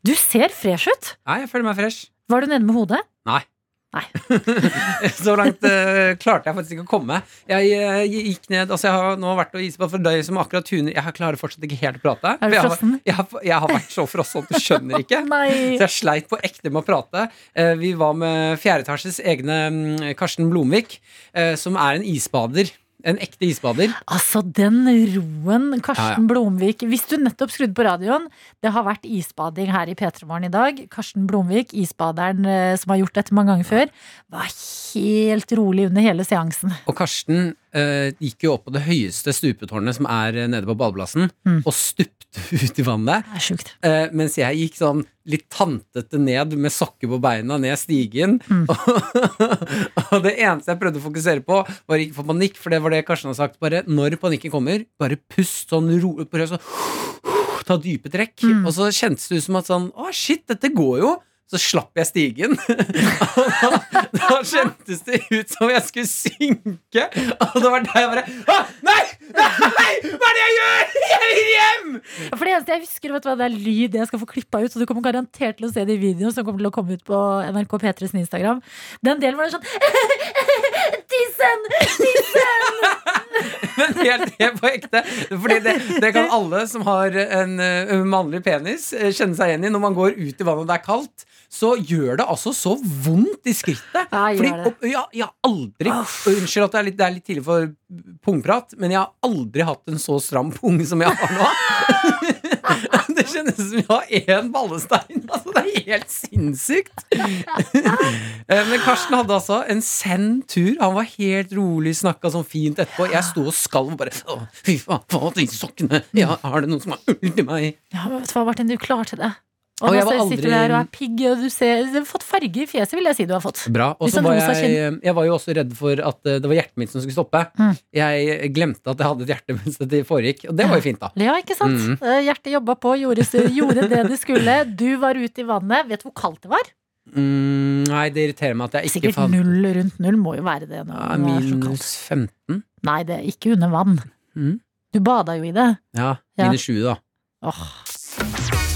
Speaker 2: Du ser fresh ut.
Speaker 4: Nei, jeg føler meg fresh.
Speaker 2: Var du nede med hodet?
Speaker 4: Nei. [laughs] så langt eh, klarte jeg faktisk ikke å komme. Jeg eh, gikk ned Altså, jeg har nå vært og isbad for deg som akkurat tuner. Jeg klarer fortsatt ikke helt å prate.
Speaker 2: Er du
Speaker 4: For jeg har-
Speaker 2: frossen?
Speaker 4: Jeg, har- jeg har vært så frossen at du skjønner ikke.
Speaker 2: [laughs] Nei.
Speaker 4: Så jeg sleit på ekte med å prate. Eh, Vi var med fjerdeetasjes egne mm, Karsten Blomvik, eh, som er en isbader. En ekte isbader.
Speaker 2: Altså, den roen, Karsten
Speaker 4: Ja, ja.
Speaker 2: Blomvik. Hvis du nettopp skrudde på radioen, det har vært isbading her i P3 Morgen i dag. Karsten Blomvik, isbaderen eh, som har gjort dette mange ganger før, var helt rolig under hele seansen.
Speaker 4: Og Karsten eh, gikk jo opp på det høyeste stupetårnet som er eh, nede på badeplassen,
Speaker 2: Mm.
Speaker 4: og stupte [laughs] ut i vannet.
Speaker 2: Det er sjukt.
Speaker 4: Eh, mens jeg gikk sånn litt tantete ned med sokker på beina ned stigen. [laughs] Og, og det eneste jeg prøvde å fokusere på, var ikke få panikk, for det var det Karsten har sagt. Bare når panikken kommer, bare pust sånn ro, prøv sånn Ta dype trekk. Og så kjentes det ut som at sånn Å, shit, dette går jo. Så slapp jeg stigen. [laughs] Da kjentes det ut som jeg skulle synke. Og det var der jeg bare «Å, Nei! Nei! Hva er det jeg gjør?! Jeg vil hjem!
Speaker 2: Ja, For det eneste jeg husker, vet du hva, det er lyd jeg skal få klippa ut, så du kommer garantert til å se det i videoen som kommer til å komme ut på NRK P3s Instagram. Den delen var det sånn [laughs] Tissen! Tissen!
Speaker 4: Men [laughs] helt det på ekte. Fordi det, det kan alle som har en eh, mannlig penis, eh, kjenne seg igjen i. Når man går ut i vannet og det er kaldt, så gjør det altså så vondt i skrittet.
Speaker 2: Ja, gjør
Speaker 4: Fordi
Speaker 2: det.
Speaker 4: opp- ja, jeg har aldri og Unnskyld at det er litt, det er litt tidlig for pungprat, men jeg har aldri hatt en så stram pung som jeg har nå. [laughs] Det kjennes ut som jeg har én ballestein. Altså, det er helt sinnssykt. Eh, Men Karsten hadde altså en send tur. Han var helt rolig, snakka sånn fint etterpå. Jeg sto og skalv og bare «Å, Fy faen, faen, de sokkene! Ja, har det noen som har ull i meg?
Speaker 2: Ja, men vet du hva, Martin, du klarte det. Og
Speaker 4: Og
Speaker 2: nå
Speaker 4: jeg var
Speaker 2: ser- sitter du
Speaker 4: aldri-
Speaker 2: der og er pigg, og du ser Du har fått farge i fjeset, vil jeg si du har fått.
Speaker 4: Bra. Og
Speaker 2: Litt
Speaker 4: så
Speaker 2: sånn
Speaker 4: var
Speaker 2: rosa
Speaker 4: jeg, jeg var jo også redd for at eh, det var hjertet mitt som skulle stoppe.
Speaker 2: Mm.
Speaker 4: Jeg glemte at jeg hadde et hjerte [laughs] mens det foregikk, og det var jo fint, da.
Speaker 2: Ja, ikke sant?
Speaker 4: Mhm.
Speaker 2: Eh, Hjertet jobba på, gjorde, gjorde det det skulle. Du var ute i vannet. Vet du hvor kaldt det var?
Speaker 4: Mm, nei, det irriterer meg at jeg ikke
Speaker 2: Sikkert null rundt null må jo være det. Når
Speaker 4: Ja,
Speaker 2: det er så kaldt.
Speaker 4: minus 15.
Speaker 2: Nei, det er ikke under vann.
Speaker 4: Mhm.
Speaker 2: Du bada jo i det.
Speaker 4: Ja,
Speaker 2: Ja.
Speaker 4: minus 20, da.
Speaker 2: Åh.